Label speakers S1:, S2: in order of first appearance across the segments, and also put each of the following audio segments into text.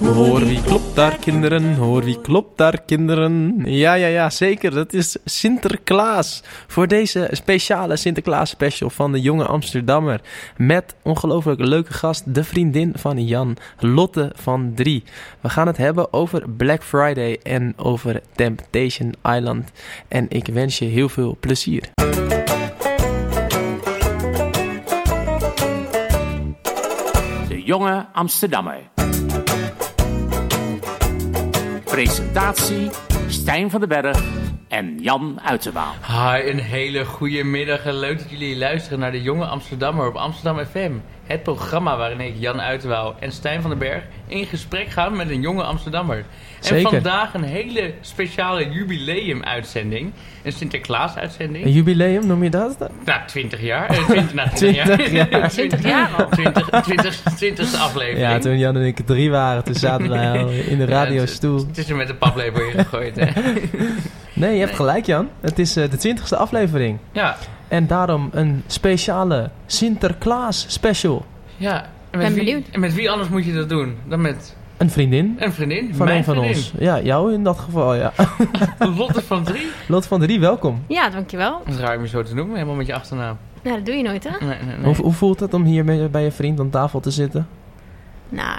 S1: Hoor wie klopt daar, kinderen? Hoor wie klopt daar, kinderen? Ja, ja, ja, zeker. Dat is Sinterklaas. Voor deze speciale Sinterklaas special van de jonge Amsterdammer. Met ongelooflijk leuke gast, de vriendin van Jan, Lotte van Drie. We gaan het hebben over Black Friday en over Temptation Island. En ik wens je heel veel plezier.
S2: De Jonge Amsterdammer. Presentatie Stijn van den Berg en Jan Uiterwaal.
S3: Hi, een hele goede middag en leuk dat jullie luisteren naar de Jonge Amsterdammer op Amsterdam FM. Het programma waarin ik, Jan Uiterwaal en Stijn van den Berg in gesprek gaan met een jonge Amsterdammer. En
S1: Zeker.
S3: vandaag een hele speciale jubileum-uitzending. Een Sinterklaas-uitzending.
S1: Een jubileum, noem je dat?
S3: Na 20 jaar. Eh, 20, na 20
S1: 20
S3: jaar.
S4: 20 jaar al.
S3: 20, 20, 20 aflevering.
S1: Ja, toen Jan en ik drie waren, toen zaten wij al in de
S3: Ja, het-
S1: radiostoel.
S3: Het is er met een paplepel in gegooid. Hè.
S1: Nee, je hebt
S3: Nee.
S1: gelijk, Jan. Het is eh, de twintigste aflevering.
S3: Ja,
S1: En daarom een speciale Sinterklaas special.
S3: ja. En
S4: Ben
S3: wie,
S4: benieuwd.
S3: En met wie anders moet je dat doen dan met
S1: Een vriendin
S3: een vriendin?
S1: van
S3: mijn
S1: een van
S3: vriendin.
S1: ons. Ja, jou in dat geval, ja.
S3: Lotte van Drie.
S1: Lot van Drie, welkom.
S4: Ja, dankjewel.
S3: Dat is raar om je zo te noemen, helemaal met je achternaam.
S4: Nou, dat doe je nooit, hè?
S3: Nee, nee, nee.
S1: Hoe, hoe voelt het om hier met- bij je vriend aan tafel te zitten?
S4: Nou,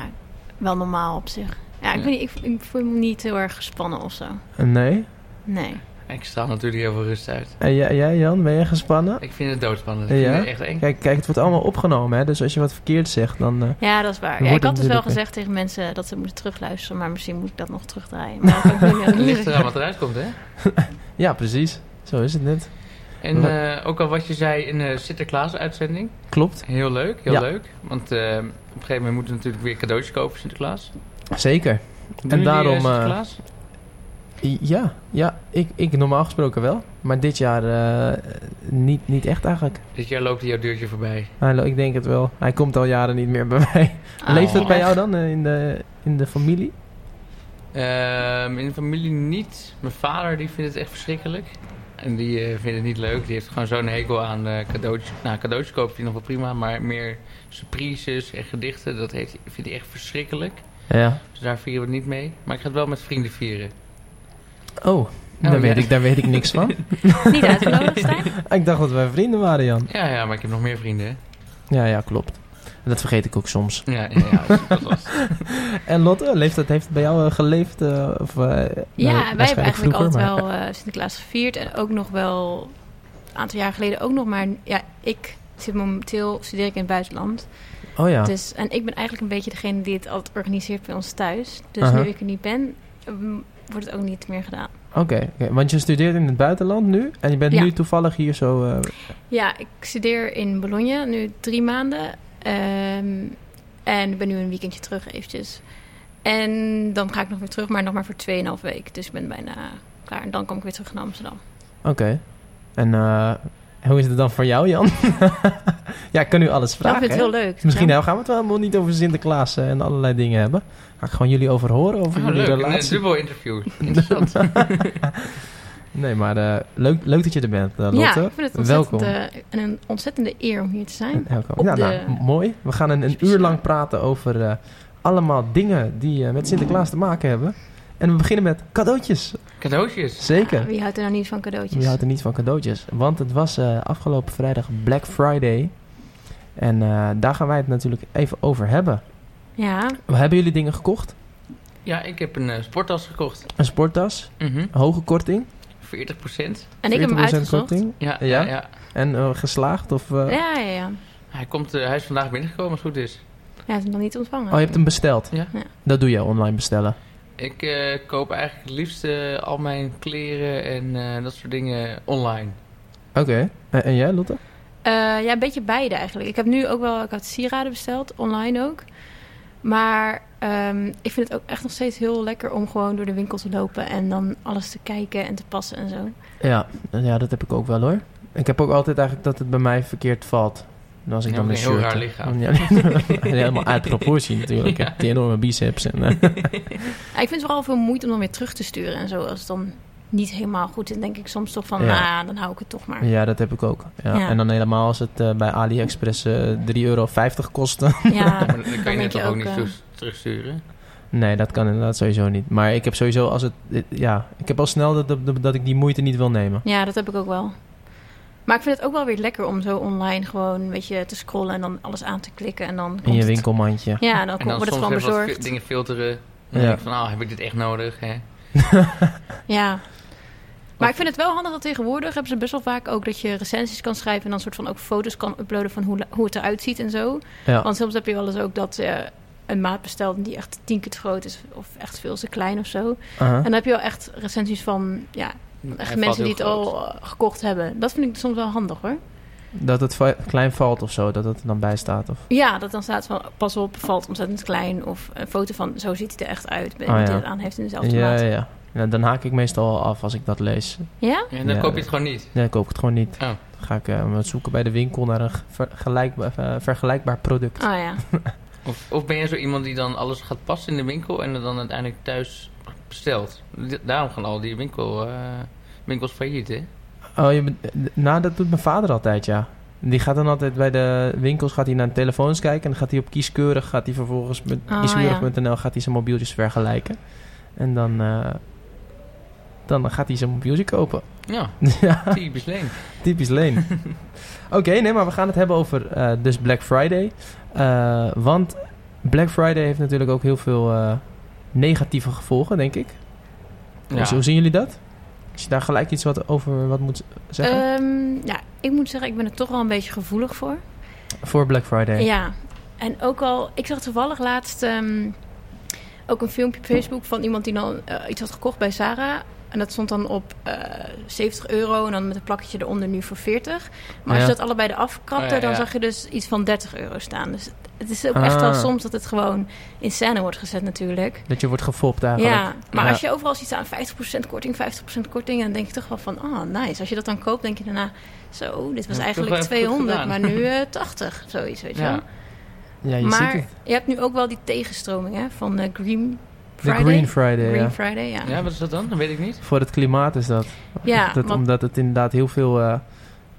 S4: wel normaal op zich. Ja, ik,
S3: Ja.
S4: Weet niet, ik, ik voel me niet heel erg gespannen of zo.
S1: Nee.
S4: Nee.
S3: Ik straal natuurlijk heel veel rust uit.
S1: En jij, jij, Jan, ben je gespannen?
S3: Ik vind het doodspannend.
S1: Ja?
S3: Ik vind het echt eng.
S1: Kijk, kijk, het wordt allemaal opgenomen, hè. Dus als je wat verkeerd zegt, dan... eh,
S4: Ja, dat is waar.
S1: Dan
S4: Ja, ik
S1: wordt
S4: had
S1: het
S4: dus wel
S1: natuurlijk, hè.
S4: gezegd tegen mensen dat ze moeten terugluisteren, maar misschien moet ik dat nog terugdraaien. Maar dat kan ik
S3: Het
S4: nu niet
S3: ligt
S4: doen.
S3: eraan wat eruit komt, hè?
S1: Ja, precies. Zo is het net.
S3: En
S1: Wat-
S3: eh, ook al wat je zei in de Sinterklaas-uitzending.
S1: Klopt.
S3: Heel leuk, heel
S1: Ja.
S3: leuk. Want eh, op een gegeven moment moeten we natuurlijk weer cadeautjes kopen voor Sinterklaas. Doen
S1: Zeker.
S3: jullie, eh,
S1: daarom, eh,
S3: Sinterklaas?
S1: I- Ja, ja ik, ik normaal gesproken wel. Maar dit jaar eh, niet, niet echt eigenlijk.
S3: Dit jaar loopt jouw deurtje voorbij.
S1: Hij lo- ik denk het wel. Hij komt al jaren niet meer bij mij.
S4: Ah,
S1: Leeft het bij
S4: ja.
S1: jou dan eh, in de, in de familie?
S3: Ehm, in de familie niet. Mijn vader die vindt het echt verschrikkelijk. En die eh, vindt het niet leuk. Die heeft gewoon zo'n hekel aan eh, cadeautjes. Nou, cadeautjes koopt hij nog wel prima. Maar meer surprises en gedichten, dat heeft, vindt hij echt verschrikkelijk.
S1: Ja.
S3: Dus daar vieren we het niet mee. Maar ik ga het wel met vrienden vieren.
S1: Oh, daar,
S3: ja.
S1: weet ik, daar weet ik niks van.
S4: Niet uitgenodigd zijn?
S1: ik dacht dat wij vrienden waren, Jan.
S3: Ja, ja, maar ik heb nog meer vrienden. hè.
S1: Ja, ja, klopt. En dat vergeet ik ook soms.
S3: Ja, ja, ja. dat- dat was-
S1: En Lotte, leeft dat, heeft het bij jou eh, geleefd? eh, of, eh,
S4: Ja,
S1: nou,
S4: wij
S1: waarschijnlijk
S4: hebben eigenlijk
S1: vroeger,
S4: altijd
S1: maar-
S4: wel eh, Sinterklaas gevierd. En ook nog wel, een aantal jaar geleden ook nog. Maar ja, ik zit momenteel, studeer ik in het buitenland.
S1: Oh ja.
S4: Dus, en ik ben eigenlijk een beetje degene die het altijd organiseert bij ons thuis. Dus
S1: Aha.
S4: nu ik er niet ben, mm, wordt het ook niet meer gedaan.
S1: Oké, oké. want je studeert in het buitenland nu. En je bent
S4: Ja.
S1: nu toevallig hier zo... eh,
S4: Ja, ik studeer in Bologna nu drie maanden. Ehm, en ik ben nu een weekendje terug eventjes. En dan ga ik nog weer terug, maar nog maar voor 2,5 weken. Dus ik ben bijna klaar. En dan kom ik weer terug naar Amsterdam.
S1: Oké. En eh, hoe is het dan voor jou, Jan? ja, ik kan nu alles
S4: Ja, ik
S1: vragen.
S4: vind het
S1: hè?
S4: heel leuk.
S1: Misschien
S4: Ja.
S1: nou gaan we het wel helemaal niet over Sinterklaas eh, en allerlei dingen hebben. Ga ik gewoon jullie over horen, over
S4: Ah,
S3: Oh,
S1: jullie
S3: leuk, een eh,
S1: relatie.
S3: dubbel interview. Interessant.
S1: Nee, maar eh, leuk, leuk dat je er bent, eh, Lotte.
S4: Ja, ik vind het
S1: Welkom.
S4: ontzettend, eh, een- een ontzettende eer om hier te zijn.
S1: Welkom.
S4: op
S1: Ja, nou,
S4: de-
S1: m- mooi. We gaan een, een
S4: Speciaal.
S1: uur lang praten over eh, allemaal dingen die eh, met Sinterklaas te maken hebben. En we beginnen met cadeautjes.
S3: Cadeautjes.
S1: Zeker.
S4: Ja, wie houdt er nou niet van cadeautjes?
S1: Je houdt er niet van cadeautjes. Want het was eh, afgelopen vrijdag Black Friday. En eh, daar gaan wij het natuurlijk even over hebben.
S4: Ja,
S1: Hebben jullie dingen gekocht?
S3: Ja, ik heb een eh, sporttas gekocht.
S1: Een sporttas,
S3: Mhm.
S1: hoge korting,
S3: 40%.
S4: en ik heb hem
S1: 40%
S4: uitgezocht.
S1: korting.
S3: Ja,
S1: Ja?
S3: ja, ja.
S1: En eh, geslaagd? Of, eh,
S4: Ja, ja, ja.
S3: Hij, komt, eh, hij is vandaag binnengekomen als het goed is.
S4: Hij heeft hem nog niet ontvangen.
S1: Oh, je hebt hem besteld.
S3: Ja.
S4: Ja.
S1: Dat doe je online bestellen.
S3: Ik eh, koop eigenlijk het liefst eh, al mijn kleren en eh, dat soort dingen online.
S1: Oké. En, en jij, Lotte?
S4: Eh, ja, een beetje beide eigenlijk. Ik heb nu ook wel, ik had sieraden besteld, online ook. Maar ehm, ik vind het ook echt nog steeds heel lekker om gewoon door de winkel te lopen en dan alles te kijken en te passen en zo.
S1: Ja. ja, dat heb ik ook wel hoor. Ik heb ook altijd eigenlijk dat het bij mij verkeerd valt. En Als ik
S3: Ja,
S1: dan
S3: een
S1: een
S3: heel
S1: shirt
S3: raar
S1: heb.
S3: lichaam.
S1: Ja, helemaal uit proportie natuurlijk.
S3: Ja.
S1: Ik heb die enorme biceps. En, eh,
S4: Ja, ik vind het vooral veel moeite om dan weer terug te sturen en zo. Als het dan niet helemaal goed is, denk ik soms toch van,
S1: Ja.
S4: nou, dan hou ik het toch maar.
S1: Ja, dat heb ik ook. Ja.
S4: Ja.
S1: En dan helemaal als het eh, bij AliExpress eh 3,50 euro kostte.
S4: Ja,
S3: Maar dan kan je
S4: denk
S3: net
S4: je
S3: toch ook
S4: ook,
S3: niet
S4: eh,
S3: terug- terugsturen?
S1: Nee, dat kan inderdaad sowieso niet. Maar ik heb sowieso als het... eh, Ja, ik heb al snel dat, dat, dat ik die moeite niet wil nemen.
S4: Ja, dat heb ik ook wel. Maar ik vind het ook wel weer lekker om zo online gewoon een beetje te scrollen en dan alles aan te klikken. En dan
S1: In
S4: komt
S1: je
S4: het-
S1: winkelmandje.
S4: Ja, en dan,
S3: En
S4: komt-
S3: dan
S4: wordt
S3: soms
S4: het gewoon
S3: even wat fi-
S4: bezorgd.
S3: dingen filteren. En dan
S1: Ja.
S3: denk ik van, ah, heb ik dit echt nodig? Hè?
S4: Ja. Maar ik vind het wel handig dat tegenwoordig hebben ze best wel vaak ook dat je recensies kan schrijven en dan soort van ook foto's kan uploaden van hoe, hoe het eruit ziet en zo.
S1: Ja.
S4: Want soms heb je wel eens ook dat je een maat bestelt en die echt tien keer te groot is of echt veel te klein of zo.
S1: aha.
S4: En dan heb je wel echt recensies van ja,
S3: Hij
S4: echt
S3: valt
S4: mensen die
S3: heel
S4: het
S3: groot.
S4: al eh, gekocht hebben. Dat vind ik soms wel handig hoor.
S1: Dat het va- klein valt of zo, dat het er dan bij staat. Of...
S4: Ja, dat dan staat van pas op, valt ontzettend klein of een foto van zo ziet hij er echt uit. Ben
S1: Ah,
S4: iemand die
S1: ja.
S4: het aan heeft in dezelfde
S1: Ja,
S4: maat.
S1: ja, ja. Ja, Dan haak ik meestal al af als ik dat lees.
S4: Ja?
S3: Ja, en dan
S1: Ja,
S3: koop je het gewoon niet.
S1: Nee, dan koop ik het gewoon niet.
S3: Oh.
S1: Dan ga ik eh, wat zoeken bij de winkel naar een ge- vergelijk- eh, vergelijkbaar product.
S4: Oh ja.
S3: Of, of ben jij zo iemand die dan alles gaat passen in de winkel en het dan uiteindelijk thuis bestelt? D- Daarom gaan al die winkel, eh, winkels failliet, hè?
S1: Oh, je, bent- nou, dat doet mijn vader altijd, ja. Die gaat dan altijd bij de winkels gaat hij naar de telefoons kijken. En dan gaat hij op kieskeurig, gaat hij vervolgens met
S4: Oh,
S1: kieskeurig.nl gaat hij zijn mobieltjes vergelijken. En dan, eh, dan gaat hij zijn mobieltje kopen.
S3: Ja,
S1: ja,
S3: typisch leen.
S1: typisch Leen. Oké, nee, maar we gaan het hebben over eh, dus Black Friday. Eh, want Black Friday heeft natuurlijk ook heel veel eh, negatieve gevolgen, denk ik.
S3: Ja.
S1: Dus hoe zien jullie dat? Als je daar gelijk iets wat over wat moet zeggen?
S4: Ehm, ja, ik moet zeggen, ik ben er toch wel een beetje gevoelig voor.
S1: Voor Black Friday.
S4: Eh, Ja, en ook al, ik zag toevallig laatst ehm, ook een filmpje op Facebook van iemand die dan eh, iets had gekocht bij Zara. En dat stond dan op eh, 70 euro en dan met een plakketje eronder nu voor 40. Maar als
S1: Ja.
S4: je dat allebei eraf krapte,
S3: Oh ja,
S4: dan
S3: ja.
S4: zag je dus iets van 30 euro staan. Dus het is ook
S1: Ah.
S4: echt wel soms dat het gewoon in scène wordt gezet natuurlijk.
S1: Dat je wordt gefopt eigenlijk.
S4: Ja, maar
S1: Ja.
S4: als je overal ziet aan 50% korting, 50% korting, dan denk je toch wel van, ah, nice. Als je dat dan koopt, denk je daarna, zo,
S3: Heb
S4: dit was
S3: ik toch wel
S4: eigenlijk
S3: even goed
S4: 200,
S3: gedaan.
S4: maar nu eh, 80, zoiets, weet je wel.
S3: Ja.
S1: Ja, je
S4: maar
S1: ziet het.
S4: je hebt nu ook wel die tegenstroming hè, van eh, Green
S1: De
S4: Friday.
S1: Green Friday,
S4: Green
S1: ja.
S4: Friday, ja.
S3: ja, wat is dat dan? Dat weet ik niet.
S1: Voor het klimaat is dat.
S4: Ja,
S1: dat
S4: want-
S1: Omdat het inderdaad heel veel... eh,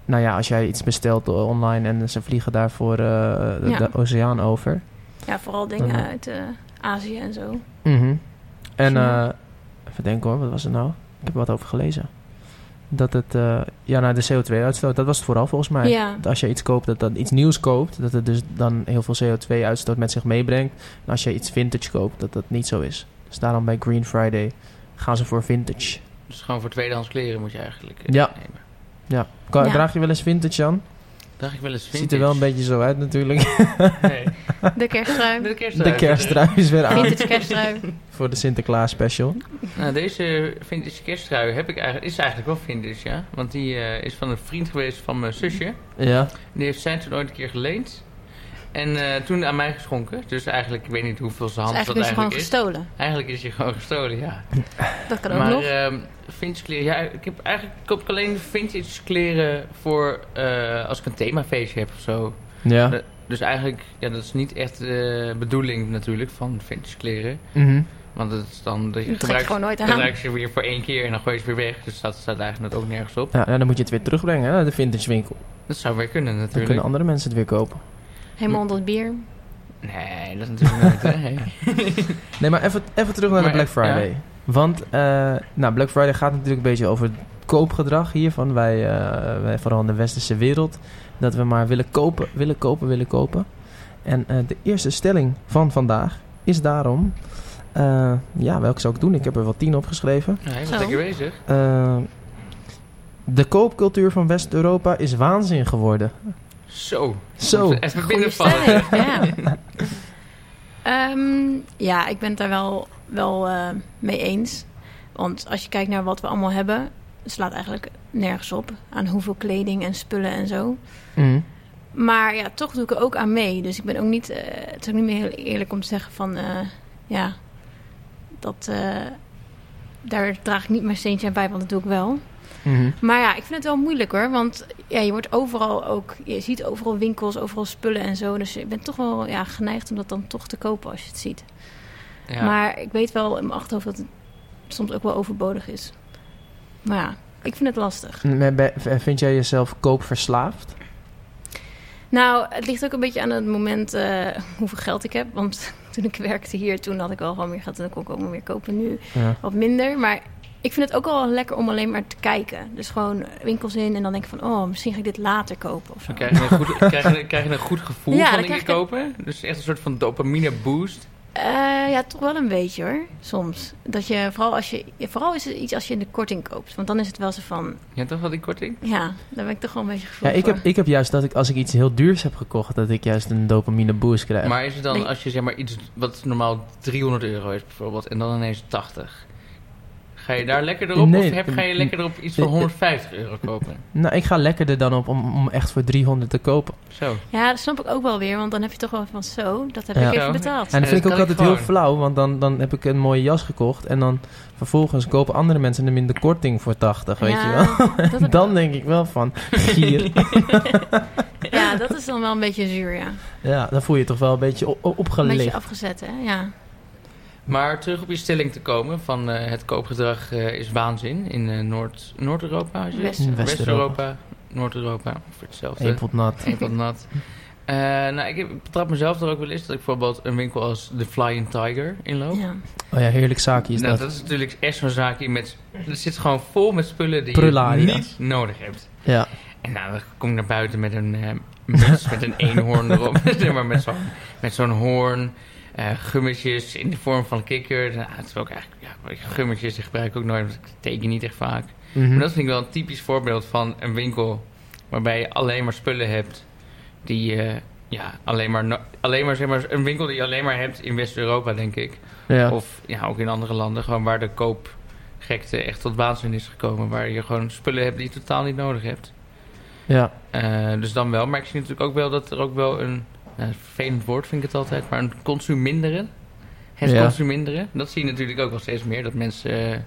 S1: nou ja, als jij iets bestelt eh, online en ze vliegen daarvoor eh, de,
S4: Ja.
S1: de oceaan over.
S4: Ja, vooral dingen
S1: Ja.
S4: uit eh, Azië en zo.
S1: Mhm. En eh
S4: Ja.
S1: even denken hoor, wat was het nou? Ik heb er wat over gelezen. Dat het... eh, ja, nou de CO2-uitstoot, dat was het vooral volgens mij.
S4: ja,
S1: Dat Als je iets koopt, dat dan iets nieuws koopt, dat het dus dan heel veel CO2-uitstoot met zich meebrengt. En als je iets vintage koopt, dat dat niet zo is. Dus daarom bij Green Friday gaan ze voor vintage.
S3: Dus gewoon voor tweedehands kleren moet je eigenlijk eh,
S1: Ja.
S3: nemen.
S1: Kan,
S4: Ja.
S1: Draag je wel eens vintage aan?
S3: Dacht ik wel eens
S1: Ziet er wel een beetje zo uit natuurlijk.
S3: beetje... Nee.
S4: de kersttrui.
S3: De kerstrui.
S1: De kerstrui is weer aan
S4: Vintage kersttrui.
S1: voor de Sinterklaas special.
S3: Nou, deze vintage kerstrui heb ik eigenlijk, is eigenlijk wel vintage, ja. Want die eh, is van een vriend geweest van mijn zusje.
S1: Ja.
S3: Die heeft zij toen ooit een keer geleend. En eh, toen aan mij geschonken. Dus eigenlijk, ik weet niet hoeveel ze
S4: Dus
S3: hand dat
S4: eigenlijk is je gewoon
S3: eigenlijk is.
S4: gestolen.
S3: Eigenlijk is je gewoon gestolen, ja.
S4: Dat kan ook
S3: maar
S4: nog.
S3: ehm, vintage kleren, ja, ik heb eigenlijk koop ik alleen vintage kleren voor eh, als ik een themafeestje heb of zo.
S1: Ja.
S3: Dat- Dus eigenlijk, ja, dat is niet echt de bedoeling natuurlijk van vintage kleren.
S1: Mhm.
S3: Want het is dan dat je
S4: je
S3: gebruikt,
S4: gewoon nooit aan.
S3: gebruikt ze weer voor één keer en dan gooi je ze weer weg. Dus dat staat eigenlijk ook nergens op.
S1: ja. nou, dan moet je het weer terugbrengen hè, naar de vintage winkel. Dan
S3: Dat zou weer kunnen
S1: kunnen
S3: natuurlijk.
S1: andere mensen het weer kopen.
S4: Helemaal onder het bier.
S3: Nee, dat is natuurlijk nooit. hè.
S1: Nee, maar even, even terug naar
S3: Maar,
S1: de Black
S3: ja.
S1: Friday. Want eh, nou, Black Friday gaat natuurlijk een beetje over het koopgedrag hier. Van wij, eh, wij, vooral in de westerse wereld. Dat we maar willen kopen, willen kopen, willen kopen. En eh, de eerste stelling van vandaag is daarom... eh, ja, welke zou ik doen? Ik heb er wel tien opgeschreven.
S3: Nee,
S4: Zo.
S3: wat lekker bezig.
S1: Eh, de koopcultuur van West-Europa is waanzin geworden.
S3: Zo.
S1: Zo.
S3: Even
S4: Goeie
S3: binnenvallen.
S4: stelling, ja. Ehm, ja, ik ben het daar wel, wel eh, mee eens. Want als je kijkt naar wat we allemaal hebben, slaat eigenlijk nergens op aan hoeveel kleding en spullen en zo.
S3: Mhm.
S1: Mm.
S4: Maar ja, toch doe ik er ook aan mee. Dus ik ben ook niet. eh, het is ook niet meer heel eerlijk om te zeggen van. eh, ja, dat. eh, daar draag ik niet mijn steentje aan bij, want dat doe ik wel.
S1: Mhm.
S4: Maar ja, ik vind het wel moeilijk hoor. Want ja, je wordt overal ook. Je ziet overal winkels, overal spullen en zo. Dus ik ben toch wel ja, geneigd om dat dan toch te kopen als je het ziet.
S3: Ja.
S4: Maar ik weet wel in mijn achterhoofd dat het soms ook wel overbodig is. Maar ja, ik vind het lastig.
S1: Maar ben- eh, Vind jij jezelf koopverslaafd?
S4: Nou, het ligt ook een beetje aan het moment eh, hoeveel geld ik heb. Want toen ik werkte hier, toen had ik wel gewoon meer geld en dan kon ik ook wel meer kopen. Nu
S1: Ja.
S4: wat minder. Maar ik vind het ook wel lekker om alleen maar te kijken. Dus gewoon winkels in en dan denk ik van, oh, misschien ga ik dit later kopen of zo.
S3: Dan krijg je een goed, krijg je, krijg je een goed gevoel
S4: Ja,
S3: van
S4: dan
S3: dingen
S4: krijg je-
S3: kopen. Dus echt een soort van dopamine boost.
S4: Eh, ja, toch wel een beetje hoor, soms. Dat je, vooral, als je, ja, vooral is het iets als je in de korting koopt. Want dan is het wel zo van,
S3: Ja, toch wel die korting?
S4: ja, daar ben ik toch wel een beetje
S1: Ja,
S4: gevoelig
S1: ik heb,
S4: voor.
S1: ik heb juist dat ik als ik iets heel duurs heb gekocht, dat ik juist een dopamine boost krijg.
S3: Maar is het dan
S4: Nee.
S3: als je zeg maar iets wat normaal 300 euro is bijvoorbeeld en dan ineens 80? Ga je daar lekkerder op
S1: Nee,
S3: of heb, ga je lekkerder op iets
S1: eh,
S3: voor
S1: eh,
S3: 150 euro kopen?
S1: Nou, ik ga lekkerder dan op om, om echt voor 300 te kopen.
S3: Zo.
S4: Ja, dat snap ik ook wel weer. Want dan heb je toch wel van, zo, dat heb
S1: Ja.
S4: ik
S3: Zo.
S4: even betaald.
S1: En dat
S3: dat
S1: vind ik ook
S3: kan ik
S1: altijd heel
S3: gewoon.
S1: flauw, want dan, dan heb ik een mooie jas gekocht en dan vervolgens kopen andere mensen hem in de korting voor 80, weet
S4: Ja,
S1: je wel.
S4: dat heb ik
S1: Dan denk ik wel van, gier.
S4: Ja, dat is dan wel een beetje zuur, ja.
S1: ja, dan voel je je toch wel een beetje o- o-
S4: Een
S1: opgelicht.
S4: beetje afgezet, hè? Ja.
S3: Maar terug op je stelling te komen van eh, het koopgedrag eh, is waanzin in eh, Noord- Noord-Europa. als je-
S4: West-
S1: West-Europa.
S3: West-Europa, Noord-Europa, of hetzelfde.
S1: Eén pot nat.
S3: Eén pot nat. Eh, nou, ik heb- betrap mezelf er ook wel eens dat ik bijvoorbeeld een winkel als The Flying Tiger inloop.
S4: ja.
S1: Oh ja, heerlijk zaakje is
S3: nou,
S1: dat.
S3: dat is natuurlijk echt zo'n zaakje met... Het zit gewoon vol met spullen die
S1: Prullaria.
S3: je niet nodig hebt.
S1: Ja.
S3: En nou, dan kom ik naar buiten met een eh, muts met een eenhoorn erop. zeg maar met zo'n met zo'n hoorn. eh, gummetjes in de vorm van kikker. Nou, het is ook eigenlijk, ja, gummetjes die gebruik ik ook nooit, want ik teken niet echt vaak.
S1: Mhm.
S3: Maar dat vind ik wel een typisch voorbeeld van een winkel waarbij je alleen maar spullen hebt die je, ja, alleen maar, no- alleen maar, zeg maar, een winkel die je alleen maar hebt in West-Europa, denk ik.
S1: ja.
S3: Of ja, ook in andere landen, gewoon waar de koopgekte echt tot waanzin is gekomen. Waar je gewoon spullen hebt die je totaal niet nodig hebt.
S1: ja.
S3: Eh, dus dan wel, maar ik zie natuurlijk ook wel dat er ook wel een, nou, vervelend woord vind ik het altijd, maar een consuminderen. Het
S1: Ja.
S3: consuminderen, dat zie je natuurlijk ook wel steeds meer. Dat mensen eh,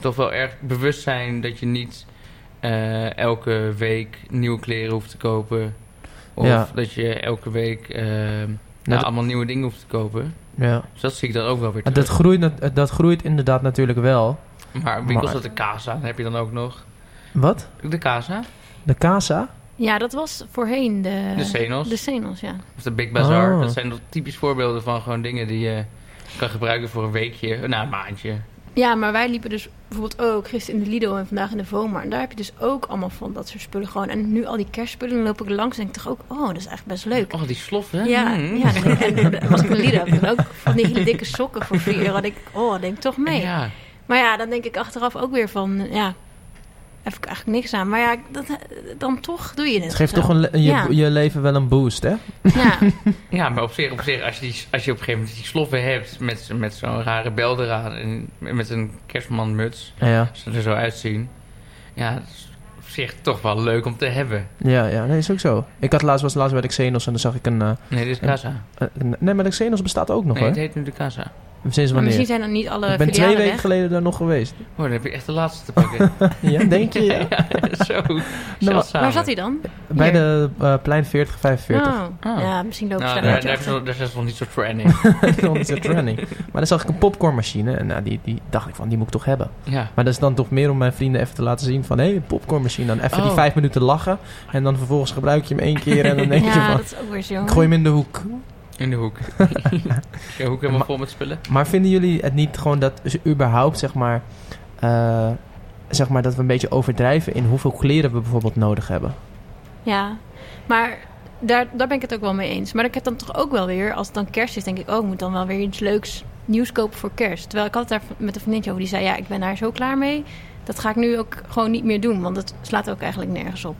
S3: toch wel erg bewust zijn dat je niet eh, elke week nieuwe kleren hoeft te kopen. Of
S1: Ja.
S3: dat je elke week eh, nou,
S1: dat-
S3: allemaal nieuwe dingen hoeft te kopen.
S1: ja.
S3: Dus dat zie ik dan ook wel weer
S1: En
S3: terug.
S1: Dat groeit, nat- dat groeit inderdaad natuurlijk wel.
S3: Maar winkels
S1: Maar-
S3: als de Casa heb je dan ook nog.
S1: Wat?
S3: De Casa,
S1: De casa?
S4: ja, dat was voorheen de...
S3: de Senos
S4: De Senos, ja.
S3: of de Big Bazaar.
S1: Oh.
S3: Dat zijn toch typisch voorbeelden van gewoon dingen die je kan gebruiken voor een weekje, nou een maandje.
S4: Ja, maar wij liepen dus bijvoorbeeld ook gisteren in de Lidl en vandaag in de Voma. En daar heb je dus ook allemaal van dat soort spullen gewoon. En nu al die kerstspullen, dan loop ik langs en denk ik toch ook... Oh, dat is eigenlijk best leuk.
S3: Oh, die slof, hè?
S4: Ja,
S3: Mm.
S4: ja dan denk ik- en dan was ik in de Lidl. heb ik dan ook van die hele dikke sokken voor 4 euro. Dan denk ik, oh, denk ik toch mee.
S3: Ja.
S4: Maar ja, dan denk ik achteraf ook weer van... Ja, heb ik eigenlijk niks aan. Maar ja, dat, dan toch doe je het.
S1: Het geeft
S4: zo.
S1: toch een le- je,
S4: Ja.
S1: je leven wel een boost, hè?
S4: Ja,
S3: ja, maar op zich, op zich als, je die, als je op een gegeven moment die sloffen hebt met, met zo'n rare bel eraan en met een kerstmanmuts,
S1: Ja,
S3: als ze er zo uitzien. Ja, dat is op zich toch wel leuk om te hebben.
S1: ja, ja nee, is ook zo. Ik had laatst, was laatst bij de Xenos en dan zag ik een... eh,
S3: Nee, dit is Casa.
S1: een- nee, maar de Xenos bestaat ook nog,
S3: Nee, het
S1: hè?
S3: heet nu de Casa.
S1: Sinds
S4: maar misschien eh,
S1: wanneer?
S4: zijn er niet alle
S1: Ik ben twee
S4: filialen
S1: weken
S4: weg.
S1: geleden daar nog geweest.
S3: Oh, dan heb je echt de laatste te pakken.
S1: ja, denk je? ja?
S3: zo.
S1: Nou,
S3: zeldzaam.
S4: Waar zat hij dan?
S1: Bij de eh, plein 40, 45.
S4: Oh.
S3: Ah.
S4: Ja, misschien lopen ze
S3: Nou,
S4: daar
S3: daar,
S4: nooit
S3: daar, heb je
S4: achter.
S3: nog- daar is nog niet zo training.
S1: Dan is het running. Maar dan zag ik een popcornmachine en nou, die, die dacht ik van, die moet ik toch hebben.
S3: Ja.
S1: Maar dat is dan toch meer om mijn vrienden even te laten zien van... Hé, een popcornmachine. Dan even die
S3: Oh.
S1: vijf minuten lachen en dan vervolgens gebruik je hem één keer en dan denk je
S4: Ja,
S1: van...
S4: dat is ook weer zo.
S1: Ik gooi hem in de hoek.
S3: In de hoek. De hoek helemaal vol met spullen.
S1: Maar vinden jullie het niet gewoon dat ze überhaupt, zeg maar, eh, zeg maar, dat we een beetje overdrijven in hoeveel kleren we bijvoorbeeld nodig hebben?
S4: Ja, maar daar, daar ben ik het ook wel mee eens. Maar ik heb dan toch ook wel weer, als het dan kerst is, denk ik, oh, ik moet dan wel weer iets leuks nieuws kopen voor kerst. Terwijl ik had het daar met een vriendinnetje over, die zei, ja, ik ben daar zo klaar mee. Dat ga ik nu ook gewoon niet meer doen, want het slaat ook eigenlijk nergens op.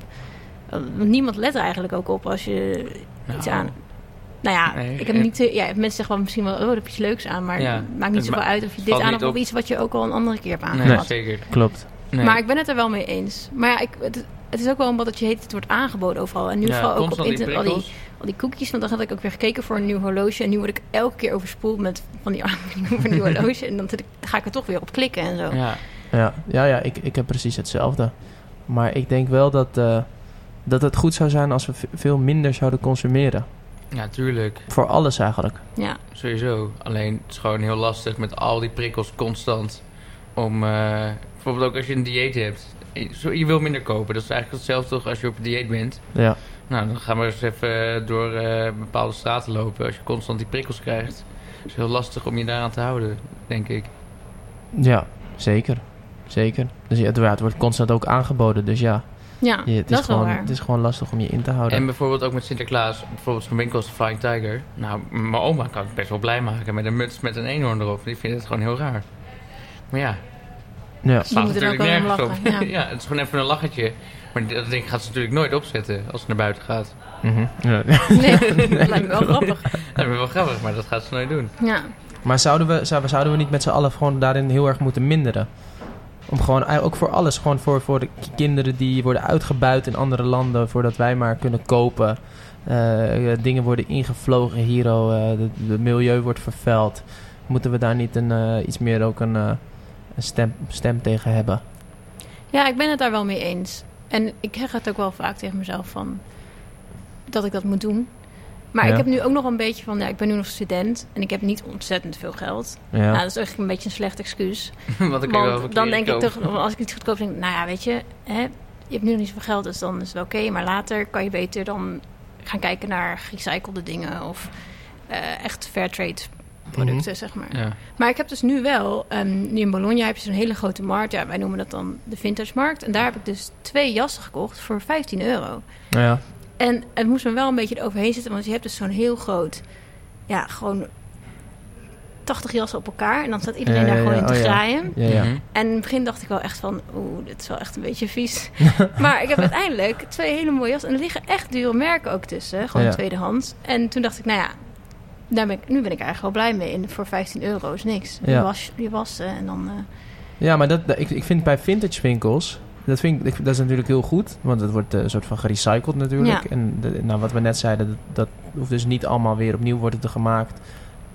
S4: Eh, Want niemand let er eigenlijk ook op als je iets
S3: Nou.
S4: aan... Nou ja,
S3: Nee,
S4: ik heb
S3: en-
S4: niet, te- ja, mensen zeggen wel misschien wel, oh, daar heb je iets leuks aan. Maar
S3: Ja,
S4: het maakt
S3: het
S4: niet zoveel
S3: ma-
S4: uit of je dit
S3: valt
S4: aan
S3: niet
S4: hebt of
S3: op.
S4: iets wat je ook al een andere keer hebt
S3: Nee,
S4: aangehad.
S3: zeker.
S1: Klopt.
S3: Nee.
S4: Maar ik ben het er wel mee eens. Maar ja, ik, het, het is ook wel omdat je heet, het wordt aangeboden overal. En nu
S3: Ja,
S4: vooral ook op
S3: constant die
S4: internet al die,
S3: prikkels.
S4: al die cookies. Want dan had ik ook weer gekeken voor een nieuw horloge. En nu word ik elke keer overspoeld met van die aanbiedingen voor een nieuw horloge. En dan zit ik- ga ik er toch weer op klikken en zo.
S3: Ja.
S1: Ja, ja, ja ik, ik heb precies hetzelfde. Maar ik denk wel dat, eh, dat het goed zou zijn als we ve- veel minder zouden consumeren.
S3: ja, tuurlijk.
S1: Voor alles eigenlijk.
S4: Ja,
S3: Sowieso. Alleen het is gewoon heel lastig met al die prikkels constant. Om eh, bijvoorbeeld ook als je een dieet hebt. Je, zo- je wil minder kopen. Dat is eigenlijk hetzelfde toch als je op een dieet bent.
S1: Ja,
S3: Nou, dan gaan we eens even eh, door eh, bepaalde straten lopen. Als je constant die prikkels krijgt. is heel lastig om je daaraan te houden, denk ik.
S1: Ja, zeker. Zeker. Dus ja, uiteraard het wordt constant ook aangeboden. Dus ja,
S4: Ja,
S1: je- het,
S4: dat
S1: is
S4: is wel
S1: gewoon,
S4: waar.
S1: het is gewoon lastig om je in te
S4: Oh,
S1: houden.
S3: En bijvoorbeeld ook met Sinterklaas, bijvoorbeeld zo'n winkel als de Flying Tiger. Nou, mijn oma kan ik best wel blij maken met een muts met een eenhoorn erop. Die vindt het gewoon heel raar. Maar ja,
S1: ja.
S3: het slaat
S4: moet er
S3: natuurlijk
S4: ook wel om
S3: nergens op.
S4: lachen,
S3: ja, het is gewoon even een lachertje. Maar dat ding gaat ze natuurlijk nooit opzetten als ze naar buiten gaat.
S1: Mhm. Ja.
S4: Nee, dat lijkt me wel grappig.
S3: Dat is wel grappig, maar dat gaat ze nooit doen.
S4: Ja.
S1: Maar zouden we, zouden, zouden we niet met z'n allen gewoon daarin heel erg moeten minderen? Om gewoon, eh, ook voor alles, gewoon voor, voor de ki- kinderen die worden uitgebuit in andere landen, voordat wij maar kunnen kopen. Eh, eh, dingen worden ingevlogen hier, oh, eh, de- de milieu wordt vervuild. Moeten we daar niet een, eh, iets meer ook een, eh, een stem, stem tegen hebben?
S4: ja, ik ben het daar wel mee eens. En ik zeg het ook wel vaak tegen mezelf van dat ik dat moet doen. Maar
S1: Ja.
S4: ik heb nu ook nog een beetje van, ja, ik ben nu nog student en ik heb niet ontzettend veel geld.
S1: Ja.
S4: Nou, dat is eigenlijk een beetje een slecht excuus.
S3: Want dan, kun je wel wat
S4: Want dan
S3: kleren
S4: denk ik
S3: kopen.
S4: toch, als ik iets goedkoop denk, nou ja, weet je, hè, je hebt nu nog niet zoveel geld, dus dan is het wel oké. maar later kan je beter dan gaan kijken naar gerecyclede dingen of eh, echt fairtrade producten,
S3: Mhm.
S4: zeg maar.
S3: Ja.
S4: Maar ik heb dus nu wel, ehm, nu in Bologna heb je zo'n hele grote markt. Ja, wij noemen dat dan de vintage markt. En daar heb ik dus twee jassen gekocht voor 15 euro.
S1: ja.
S4: En het moest me wel een beetje eroverheen zitten, want je hebt dus zo'n heel groot, ja, gewoon 80 jassen op elkaar. En dan staat iedereen
S1: Ja, ja,
S4: daar gewoon
S1: ja.
S4: in te
S1: Oh, ja.
S4: graaien.
S1: Ja, ja.
S3: Mhm.
S4: En in het begin dacht ik wel echt van, oeh, dit is wel echt een beetje vies. maar ik heb uiteindelijk twee hele mooie jassen. En er liggen echt dure merken ook tussen, gewoon
S1: Ja.
S4: tweedehands. En toen dacht ik, nou ja, daar ben ik, nu ben ik eigenlijk wel blij mee. En voor 15 euro is niks.
S1: Ja.
S4: Je, was, je wassen en dan... eh,
S1: Ja, maar dat, dat- ik, ik vind bij vintage winkels... Dat, vind ik, ik- dat is natuurlijk heel goed, want het wordt eh, een soort van gerecycled natuurlijk.
S4: Ja.
S1: En de- nou, wat we net zeiden, dat, dat hoeft dus niet allemaal weer opnieuw worden te gemaakt.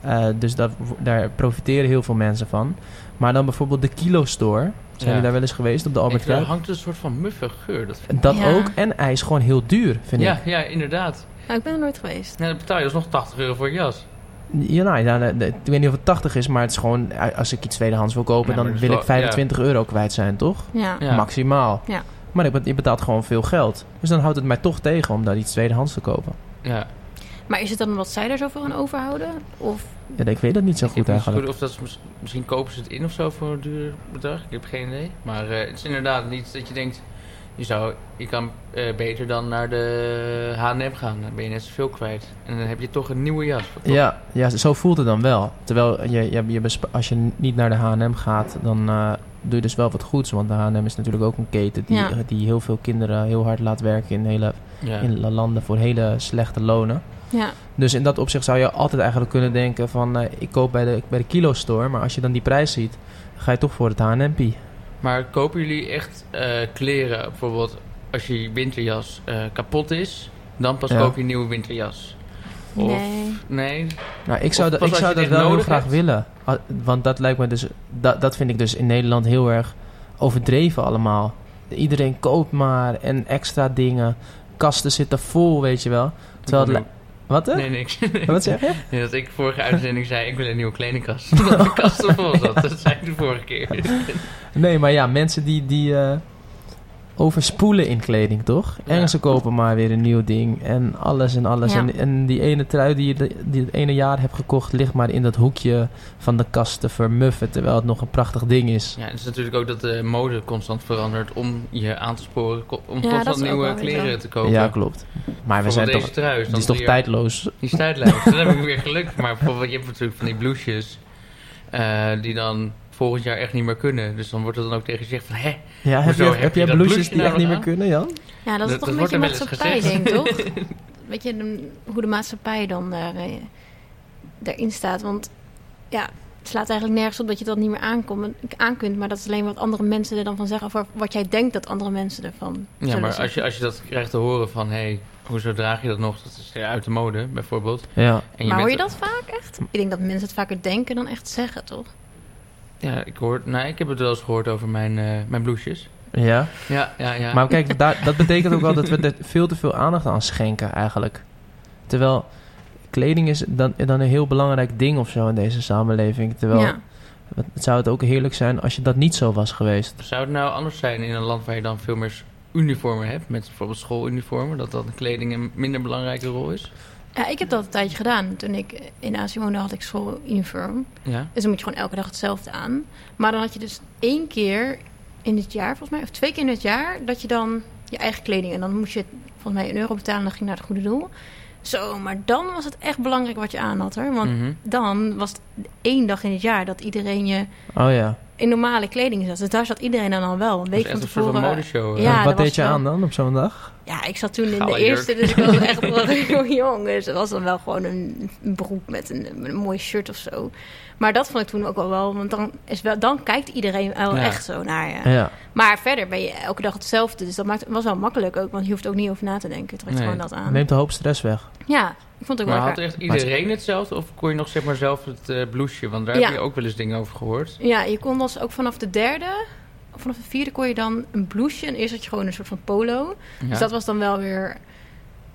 S1: Eh, dus dat, daar profiteren heel veel mensen van. Maar dan bijvoorbeeld de Kilo Store. Zijn
S3: Ja.
S1: jullie daar wel eens geweest op de Albert
S3: Ik- Er
S1: Cuyp?
S3: hangt een soort van muffige geur. Dat vind ik.
S1: Dat
S4: Ja.
S1: ook. En ijs gewoon heel duur, vind
S3: Ja,
S1: ik.
S3: ja, inderdaad.
S4: nou, ik ben er nooit geweest.
S3: En dan betaal je alsnog 80 euro voor je jas.
S1: Ja, nou, ja, de- de- ik weet niet of het 80 is, maar het is gewoon... eh, Als ik iets tweedehands wil kopen,
S3: Nee, maar
S1: dan
S3: dat is
S1: wil
S3: wel-
S1: ik 25 euro kwijt zijn, toch?
S4: Ja.
S3: Ja.
S1: maximaal.
S4: Ja.
S1: Maar ik bet- je betaalt gewoon veel geld. Dus dan houdt het mij toch tegen om daar iets tweedehands te kopen.
S3: Ja.
S4: Maar is het dan wat zij daar zoveel aan overhouden? Of,
S1: Ja, ik weet dat niet zo
S3: Ik
S1: goed
S3: weet niet zo
S1: eigenlijk.
S3: goed of dat ze mis- misschien kopen ze het in of zo voor een duur bedrag. Ik heb geen idee. Maar eh, het is inderdaad niet dat je denkt... Je, zou, je kan eh, beter dan naar de H&M gaan. Dan ben je net zoveel kwijt. En dan heb je toch een nieuwe jas. Wat toch-
S1: Ja, ja, zo voelt het dan wel. Terwijl je, je, je bespa- als je niet naar de H&M gaat, dan eh, doe je dus wel wat goeds. Want de H&M is natuurlijk ook een keten die,
S4: Ja.
S1: die heel veel kinderen heel hard laat werken in, hele,
S3: Ja.
S1: in landen voor hele slechte lonen.
S4: ja.
S1: Dus in dat opzicht zou je altijd eigenlijk kunnen denken van... eh, ik koop bij de, bij de Kilo Store, maar als je dan die prijs ziet, ga je toch voor het H&M-pie.
S3: Maar kopen jullie echt eh, kleren? Bijvoorbeeld als je winterjas eh, kapot is... Dan pas
S1: Ja.
S3: koop je een nieuwe winterjas. Of-
S4: Nee.
S3: Nee?
S1: Nou, ik zou,
S3: Of
S1: dat,
S3: pas
S1: ik
S3: als
S1: zou dat
S3: je dit
S1: wel heel
S3: nodig
S1: graag
S3: hebt?
S1: willen. Ah, Want dat lijkt me dus... Dat, dat vind ik dus in Nederland heel erg overdreven allemaal. Iedereen koopt maar en extra dingen. Kasten zitten vol, weet je wel. Terwijl het li- Wat, hè?
S3: Nee, niks.
S1: Wat zeg je?
S3: Nee, dat ik vorige uitzending zei, ik wil een nieuwe kledingkast. Omdat de kast er vol zat. Dat zei ik de vorige keer.
S1: Nee, maar ja, mensen die... die eh, overspoelen in kleding, toch?
S3: Ja.
S1: En ze kopen maar weer een nieuw ding. En alles en alles.
S4: Ja.
S1: En, en die ene trui die je de- die het ene jaar hebt gekocht... ligt maar in dat hoekje van de kast te vermuffen... terwijl het nog een prachtig ding is.
S3: Ja, het is natuurlijk ook dat de mode constant verandert om je aan te sporen, ko- om
S4: Ja, dat
S3: constant
S4: is ook
S3: nieuwe
S4: wel weer
S3: kleren
S4: zo.
S3: te kopen.
S1: Ja, klopt. Maar we zijn
S3: Bijvoorbeeld
S1: toch...
S3: deze trui is
S1: Het
S3: dan
S1: is toch
S3: drie jaar-
S1: tijdloos?
S3: Die is tijdloos. Dan heb ik weer geluk. Maar bijvoorbeeld, je hebt natuurlijk van die blouses eh, die dan volgend jaar echt niet meer kunnen. Dus dan wordt er dan ook tegen gezegd van, hè?
S1: Ja, heb,
S3: Hoezo,
S1: je,
S3: heb
S1: heb
S3: je
S1: jij
S3: dat
S1: blouses
S3: blouseje
S1: die
S3: nou
S1: echt niet meer
S3: nog
S1: kunnen, Jan?
S4: Ja, dat is
S3: Dat-
S4: toch
S3: dat
S4: een
S3: wordt
S4: beetje
S3: er wel eens
S4: maatschappij, denk toch? Weet je, de- hoe de maatschappij dan daar, eh, daarin staat. Want ja, het slaat eigenlijk nergens op dat je dat niet meer aankomt, aan kunt. Maar dat is alleen wat andere mensen er dan van zeggen. Of wa- wat jij denkt dat andere mensen ervan
S3: Ja,
S4: zullen
S3: maar als
S4: zeggen.
S3: je, als je dat krijgt te horen van, hé, hey, hoezo draag je dat nog? Dat is uit de mode, bijvoorbeeld.
S1: Ja.
S3: En
S4: maar hoor
S3: bent-
S4: je dat vaak echt? Ik denk dat mensen het vaker denken dan echt zeggen, toch?
S3: Ja, ik, hoor, nou, ik heb het wel eens gehoord over mijn, eh, mijn blouses.
S1: ja.
S3: Ja, ja, ja.
S1: Maar kijk, daar, dat betekent ook wel dat we er veel te veel aandacht aan schenken eigenlijk. Terwijl kleding is dan, dan een heel belangrijk ding of zo in deze samenleving. Terwijl
S4: Ja.
S1: het- het zou het ook heerlijk zijn als je dat niet zo was geweest.
S3: Zou het nou anders zijn in een land waar je dan veel meer s- uniformen hebt? Met bijvoorbeeld schooluniformen, dat dan kleding een minder belangrijke rol is?
S4: Ja, ik heb dat een tijdje gedaan. Toen ik in Azië woonde had ik schooluniform.
S3: Ja.
S4: Dus dan moet je gewoon elke dag hetzelfde aan. Maar dan had je dus één keer in het jaar, volgens mij, of twee keer in het jaar, dat je dan je eigen kleding. En dan moest je volgens mij een euro betalen en dan ging je naar het goede doel. Zo, maar dan was het echt belangrijk wat je aan had hoor. Want
S3: Mhm.
S4: dan was het één dag in het jaar dat iedereen je
S1: Oh ja.
S4: in normale kleding zat. Dus daar zat iedereen dan al wel. Een
S3: Dat is
S4: week van
S3: echt een soort van
S4: tevoren.
S3: modeshow.
S4: Ja,
S3: Ja.
S1: wat
S4: dat was
S1: deed je
S4: wel-
S1: aan dan op zo'n dag?
S4: Ja, ik zat toen in
S3: Gouden
S4: de
S3: jurk.
S4: eerste, dus ik was echt wel heel jong. Dus dat was dan wel gewoon een, een broek met een, met een mooi shirt of zo. Maar dat vond ik toen ook wel wel, want dan, is wel, dan kijkt iedereen wel
S3: Ja.
S4: echt zo naar je.
S1: Ja.
S4: Maar verder ben je elke dag hetzelfde, dus dat maakt, was wel makkelijk ook, want je hoeft ook niet over na te denken. Het trekt
S3: Nee.
S4: gewoon dat aan.
S1: Neemt de hoop stress weg.
S4: Ja, ik vond het ook
S3: Maar
S4: wel
S3: had
S4: lekker.
S3: echt iedereen hetzelfde? Of kon je nog zeg maar zelf het eh blouseje? Want daar
S4: Ja.
S3: heb je ook wel eens dingen over gehoord.
S4: Ja, je kon dus ook vanaf de derde, of vanaf de vierde kon je dan een blouseje. En eerst had je gewoon een soort van polo.
S3: Ja.
S4: Dus dat was dan wel weer...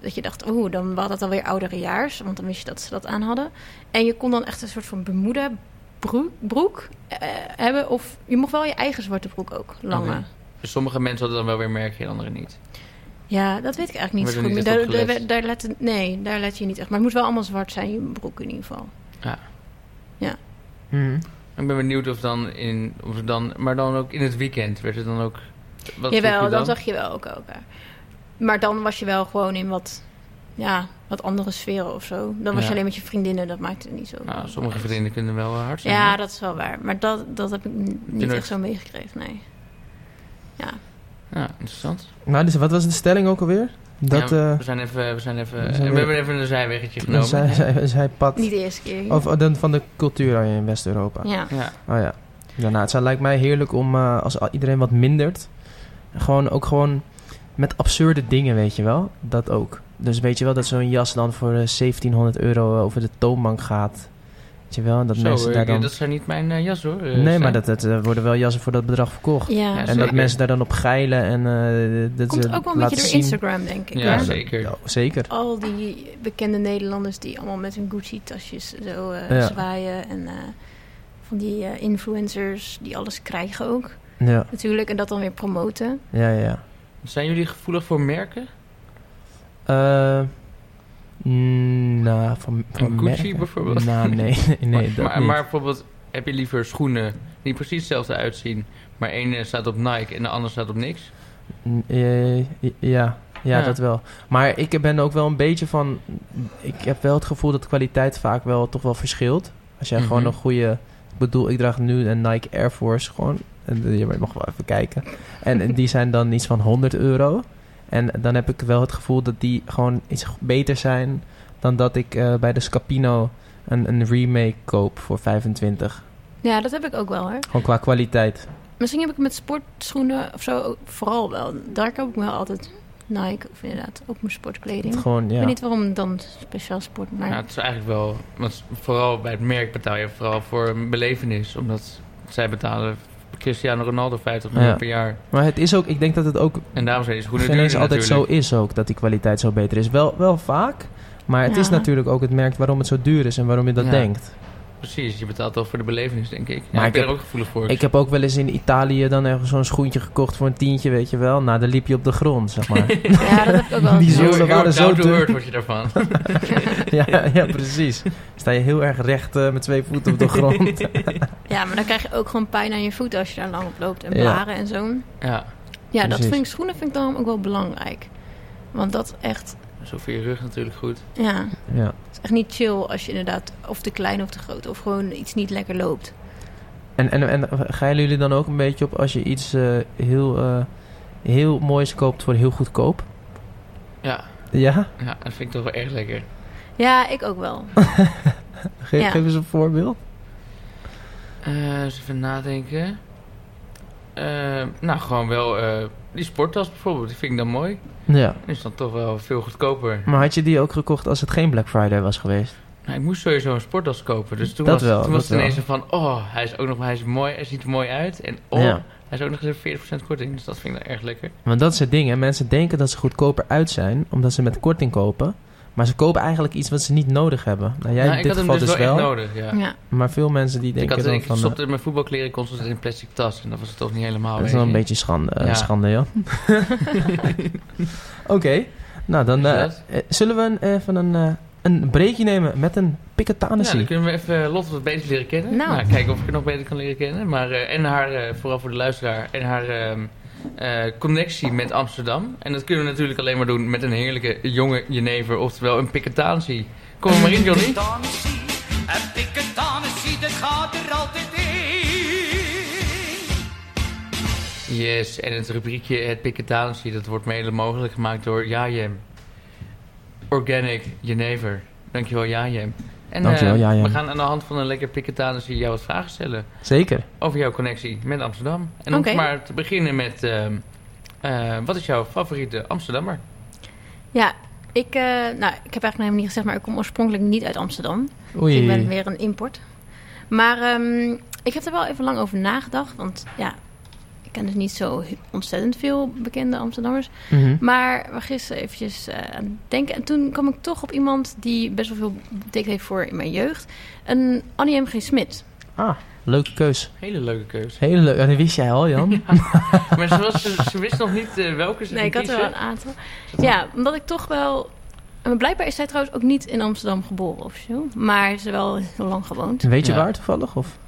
S4: Dat je dacht, oeh, dan was dat alweer ouderejaars. Want dan wist je dat ze dat aan hadden. En je kon dan echt een soort van bemoede broek, broek eh, hebben. Of je mocht wel je eigen zwarte broek ook, lange.
S3: Oké. Dus sommige mensen hadden dan wel weer merken en anderen niet.
S4: Ja, dat weet ik eigenlijk niet
S3: Werd
S4: zo
S3: er
S4: goed.
S3: niet
S4: Maar
S3: echt op
S4: daar,
S3: gelet?
S4: daar, daar let- nee, daar let je niet echt. Maar het moet wel allemaal zwart zijn, je broek in ieder geval. Mm.
S3: Ik ben benieuwd of dan in, of het dan, maar dan ook in het weekend werd het dan ook. Wat vroeg je
S4: Jawel,
S3: dan?
S4: dat zag je wel ook elkaar. Maar dan was je wel gewoon in wat, ja, wat andere sferen of zo. Dan was
S3: Ja.
S4: je alleen met je vriendinnen, dat maakte het niet zo.
S3: Nou, sommige vrienden kunnen wel hard zijn.
S4: Ja,
S3: hè?
S4: dat is wel waar. Maar dat, dat heb ik n- niet
S3: nooit-
S4: echt zo meegekregen, nee. Ja,
S3: Ja, interessant.
S1: Nou, dus wat was de stelling ook alweer? Dat...
S3: Ja,
S1: eh
S3: we zijn even, we zijn even,
S1: we
S3: we,
S1: zijn weer-
S3: hebben even een zijweggetje genomen.
S1: zij, zij, zij pad.
S4: niet de eerste keer.
S1: Of oh, dan van de cultuur dan in West-Europa.
S4: ja.
S3: Ja,
S1: Oh ja. Ja, nou, het zou, lijkt mij heerlijk om eh, als al- iedereen wat mindert. Gewoon ook gewoon met absurde dingen, weet je wel. Dat ook. Dus weet je wel dat zo'n jas dan voor eh, 1700 euro eh, over de toonbank gaat. Weet je wel, en dat
S3: zo,
S1: mensen
S3: eh,
S1: daar dan...
S3: dat zijn niet mijn eh, jas hoor. eh,
S1: nee,
S3: Stijn.
S1: maar dat, dat eh, worden wel jassen voor dat bedrag verkocht.
S4: ja.
S3: Ja,
S1: en dat
S3: zeker.
S1: mensen daar dan op geilen en eh dat
S4: Komt
S1: ze
S4: ook wel een
S1: laten
S4: beetje door
S1: zien.
S4: Instagram, denk ik.
S3: Ja,
S4: hè?
S1: dat-
S3: zeker.
S1: ja, zeker.
S4: Al die bekende Nederlanders die allemaal met hun Gucci-tasjes zo eh,
S1: Ja.
S4: zwaaien. En eh, van die eh, influencers die alles krijgen ook,
S1: Ja,
S4: natuurlijk. En dat dan weer promoten.
S1: ja, ja.
S3: Zijn jullie gevoelig voor merken?
S1: Eh, mm, nou, van, van
S3: Gucci
S1: merken.
S3: bijvoorbeeld?
S1: Nou, nee, nee, nee
S3: maar,
S1: dat
S3: maar,
S1: niet.
S3: maar bijvoorbeeld, heb je liever schoenen die precies hetzelfde uitzien, maar één eh, staat op Nike en de ander staat op niks?
S1: Mm, eh, ja, ja,
S3: Ja.
S1: dat wel. Maar ik ben ook wel een beetje van... Ik heb wel het gevoel dat de kwaliteit vaak wel toch wel verschilt. Als jij gewoon
S3: Mhm.
S1: een goede... Ik bedoel, ik draag nu een Nike Air Force gewoon. En, eh, Je mag wel even kijken. En eh, die zijn dan iets van 100 euro. En dan heb ik wel het gevoel dat die gewoon iets g- beter zijn... dan dat ik eh, bij de Scapino een, een remake koop voor 25.
S4: Ja, dat heb ik ook wel hoor.
S1: Gewoon qua kwaliteit.
S4: Misschien heb ik met sportschoenen of zo ook vooral wel. Daar koop ik wel altijd Nike of inderdaad ook mijn sportkleding.
S1: Gewoon, ja.
S4: Ik weet niet waarom dan speciaal sport, maar
S3: Ja, Nou, het is eigenlijk wel, want vooral bij het merk betaal je vooral voor een belevenis, omdat zij betalen Cristiano Ronaldo 50 miljoen
S1: Ja.
S3: per jaar.
S1: Maar het is ook... Ik denk dat het ook
S3: En daarom zijn die schoenen
S1: geen
S3: duurder
S1: eens altijd
S3: natuurlijk.
S1: zo is ook dat die kwaliteit zo beter is. Wel, wel vaak, maar het is
S4: Ja.
S1: natuurlijk ook het merk waarom het zo duur is en waarom je dat
S3: Ja.
S1: denkt.
S3: Precies, je betaalt wel voor de belevenis, denk ik. Ja,
S1: Maar
S3: ik,
S1: ik
S3: ben
S1: heb-
S3: er ook gevoelig voor.
S1: Ik heb ook wel eens in Italië dan ergens zo'n schoentje gekocht voor een tientje, weet je wel. Nou, dan liep je op de grond, zeg maar.
S4: ja, dat heb ik ook wel.
S1: Die zolen
S3: Heel- heel
S1: waren zo
S3: down to
S1: dun.
S3: earth word je daarvan.
S1: ja, ja, precies. Sta je heel erg recht eh, met twee voeten op de grond.
S4: Ja, maar dan krijg je ook gewoon pijn aan je voeten als je daar lang op loopt en
S1: Ja.
S4: blaren en zo.
S3: ja,
S4: Ja, dat
S1: Precies.
S4: vind ik schoenen vind ik dan ook wel belangrijk. Want dat echt,
S3: zo voor je rug natuurlijk goed.
S4: ja,
S1: ja.
S4: het is echt niet chill als je inderdaad of te klein of te groot of gewoon iets niet lekker loopt.
S1: En, en, en geilen jullie dan ook een beetje op als je iets eh, heel, eh, heel moois koopt voor heel goedkoop?
S3: Ja,
S1: Ja?
S3: ja, dat vind ik toch wel erg lekker.
S4: Ja, ik ook wel.
S1: Ge-
S4: Ja.
S1: Geef eens een voorbeeld.
S3: Eh, eens even nadenken. Eh, nou, gewoon wel eh, die sporttas bijvoorbeeld, die vind ik dan mooi.
S1: Ja.
S3: Die is dan toch wel veel goedkoper.
S1: Maar had je die ook gekocht als het geen Black Friday was geweest?
S3: Nou, ik moest sowieso een sporttas kopen, dus toen
S1: Dat
S3: was,
S1: wel,
S3: toen was
S1: dat
S3: het ineens zo van... Oh, hij is ook nog hij is mooi, hij ziet er mooi uit. En oh,
S1: Ja.
S3: hij is ook nog eens 40% korting, dus dat vind ik dan erg lekker.
S1: Want dat is het ding, hè. Mensen denken dat ze goedkoper uit zijn, omdat ze met korting kopen. Maar ze kopen eigenlijk iets wat ze niet nodig hebben. Nou, jij
S3: nou,
S1: in
S3: ik
S1: dit
S3: had hem
S1: geval
S3: dus
S1: dus
S3: wel, echt
S1: wel.
S3: nodig, ja.
S4: Ja.
S1: maar veel mensen die
S3: Ik
S1: denken
S3: had
S1: dan
S3: ik
S1: van... eh,
S3: stopte mijn voetbalkleren constant in een plastic tas en dat was het toch niet helemaal.
S1: dat is
S3: weet
S1: wel een
S3: je.
S1: beetje schande, eh,
S3: Ja.
S1: schande joh. Oké, nou dan...
S3: Is
S1: eh,
S3: dat?
S1: nou eh, zullen we een- even een eh, een breekje nemen met een
S3: Nou,
S1: piketanissie.
S3: dan kunnen we even eh, Lotte wat beter leren kennen.
S4: Nou.
S3: kijken of ik haar nog beter kan leren kennen. Maar, eh, en haar, eh, vooral voor de luisteraar, en haar ehm, eh, connectie met Amsterdam. En dat kunnen we natuurlijk alleen maar doen met een heerlijke jonge jenever, oftewel een piketaansie. Kom er maar in, Johnny.
S5: Piketanissie, een piketanissie, dat gaat er altijd in.
S3: Yes, en het rubriekje Het Piketaansie, dat wordt mede mogelijk gemaakt door Jajem. Organic Jenever. Dankjewel, Jajem. En
S1: Dankjewel,
S3: eh,
S1: Jajem.
S3: we gaan aan de hand van een lekker Piketaansie jou wat vragen stellen.
S1: Zeker.
S3: Over jouw connectie met Amsterdam. En om
S4: Oké.
S3: maar te beginnen met... ehm, eh, wat is jouw favoriete Amsterdammer?
S4: Ja, ik, eh, nou, ik heb eigenlijk nog helemaal niet gezegd, maar ik kom oorspronkelijk niet uit Amsterdam. Dus
S1: Oei.
S4: ik ben weer een import. Maar ehm, ik heb er wel even lang over nagedacht. Want ja, ik ken dus niet zo he- ontzettend veel bekende Amsterdammers.
S1: Mhm.
S4: Maar we gisteren eventjes eh, aan het denken. En toen kwam ik toch op iemand die best wel veel betekend heeft voor in mijn jeugd. Een Annie M. G. Smit.
S1: Ah, leuke keus.
S3: Hele leuke keuze.
S1: Hele leuk. En dat wist jij al, Jan.
S3: maar ze, was, ze, ze wist nog niet eh, welke ze
S4: Nee,
S3: ging
S4: ik had er wel
S3: kiezen.
S4: een aantal. Ja, omdat ik toch wel... en Blijkbaar is zij trouwens ook niet in Amsterdam geboren of zo. Maar ze heeft wel heel lang gewoond.
S1: Weet je
S3: Ja.
S1: waar toevallig? Of?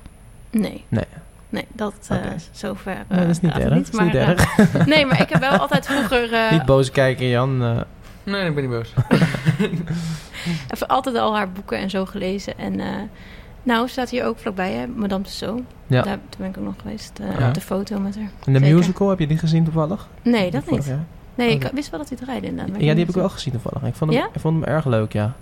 S4: Nee.
S1: Nee.
S4: Nee, dat eh,
S1: Oké.
S4: zover. eh,
S1: Nee, dat is niet
S4: gaat het
S1: erg. Dat is niet
S4: maar,
S1: erg.
S4: eh, nee, maar ik heb wel altijd vroeger. eh,
S1: niet boos kijken, Jan. eh,
S3: Nee, ik ben niet boos.
S4: even altijd al haar boeken en zo gelezen. En eh, nou, staat hier ook vlakbij, hè? Madame Tussauds.
S1: Ja.
S4: Daar, toen ben ik ook nog geweest. eh,
S1: Ja.
S4: Op de foto met haar.
S1: en de
S4: Zeker.
S1: musical, heb je die gezien toevallig?
S4: Nee, dat
S1: Vorig
S4: niet.
S1: jaar?
S4: Nee,
S1: Oké.
S4: ik wist wel dat hij draaide inderdaad. maar
S1: Ja, die
S4: weet
S1: heb ik wel gezien toevallig. Ik vond hem,
S4: Ja?
S1: ik vond hem erg leuk, ja.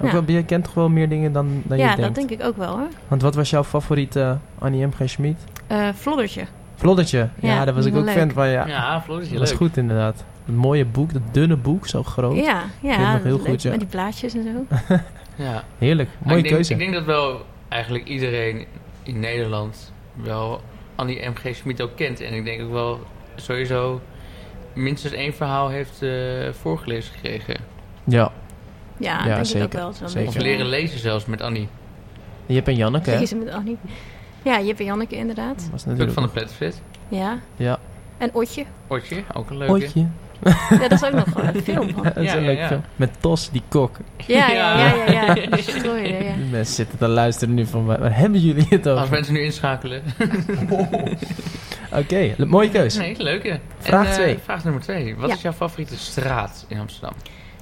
S1: Ook
S4: Ja.
S1: wel, je kent toch wel meer dingen dan, dan
S4: niet. Ja,
S1: je denkt.
S4: dat denk ik ook wel hoor.
S1: Want wat was jouw favoriete Annie M. G. Schmid?
S4: Eh Floddertje.
S1: Vloddertje. Ja,
S4: Ja,
S1: daar was ik
S4: die
S1: ook
S4: vond ik
S1: fan
S4: leuk.
S1: van, ja.
S3: Ja, ja Floor is
S1: dat
S3: heel
S1: was
S3: leuk.
S1: goed inderdaad. Dat mooie boek, dat dunne boek, zo groot.
S4: Ja,
S1: vind Oh. ik
S4: ja.
S1: nog heel
S4: leuk,
S1: goed, ja.
S4: Met die blaadjes en zo.
S3: Ja.
S1: Heerlijk,
S3: Maar
S1: mooie
S3: ik denk,
S1: keuze.
S3: Ah, Ik denk dat wel eigenlijk iedereen in Nederland wel Annie M.G. Schmid ook kent. En ik denk ook wel sowieso minstens één verhaal heeft eh, voorgelezen gekregen.
S1: Ja,
S4: Ja,
S1: Ja,
S4: denk ik
S1: zeker,
S4: ook wel. Zo
S1: zeker.
S3: Of leren lezen zelfs met Annie.
S1: je hebt een Janneke, hè?
S4: Lezen met Annie. Ja, Jip en Janneke inderdaad.
S1: Was
S3: Puk
S1: natuurlijk
S3: van de Platfit.
S4: Ja.
S1: Ja.
S4: En Otje.
S3: Otje, ook een
S1: een
S3: leuke.
S1: Ootje.
S4: Ja, dat is ook nog gewoon een film van.
S1: Dat is
S3: Ja,
S1: een
S3: ja,
S1: leuk
S3: ja.
S1: film. Met Tos, die kok.
S4: Ja, ja, ja, ja. ja,
S3: Ja.
S4: Die strooier, ja.
S1: Die mensen zitten te luisteren nu van, waar, waar hebben jullie het
S3: Als
S1: over?
S3: mensen nu inschakelen.
S1: Oké, le- mooie keuze.
S3: Nee, leuke.
S1: Vraag
S3: En, eh,
S1: twee.
S3: vraag nummer twee. Wat
S4: Ja.
S3: is jouw favoriete straat in Amsterdam?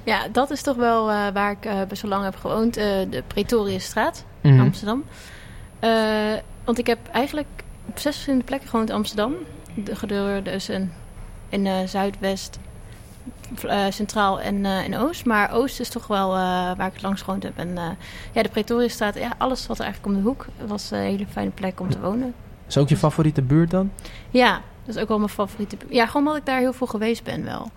S4: Ja, dat is toch wel eh, waar ik eh, best wel lang heb gewoond. eh, de Pretoriusstraat in
S1: Mhm.
S4: Amsterdam. Eh, want ik heb eigenlijk op zes verschillende plekken gewoond in Amsterdam. De, gedurende dus in, in eh, Zuidwest, v- eh, Centraal en eh, in Oost. Maar Oost is toch wel eh, waar ik het langs gewoond heb. En eh, ja, de Pretoriusstraat, ja, alles zat er eigenlijk om de hoek. Het was een hele fijne plek om te wonen.
S1: Is ook je favoriete buurt dan?
S4: Ja, dat is ook wel mijn favoriete. bu- Ja, gewoon omdat ik daar heel veel geweest ben wel.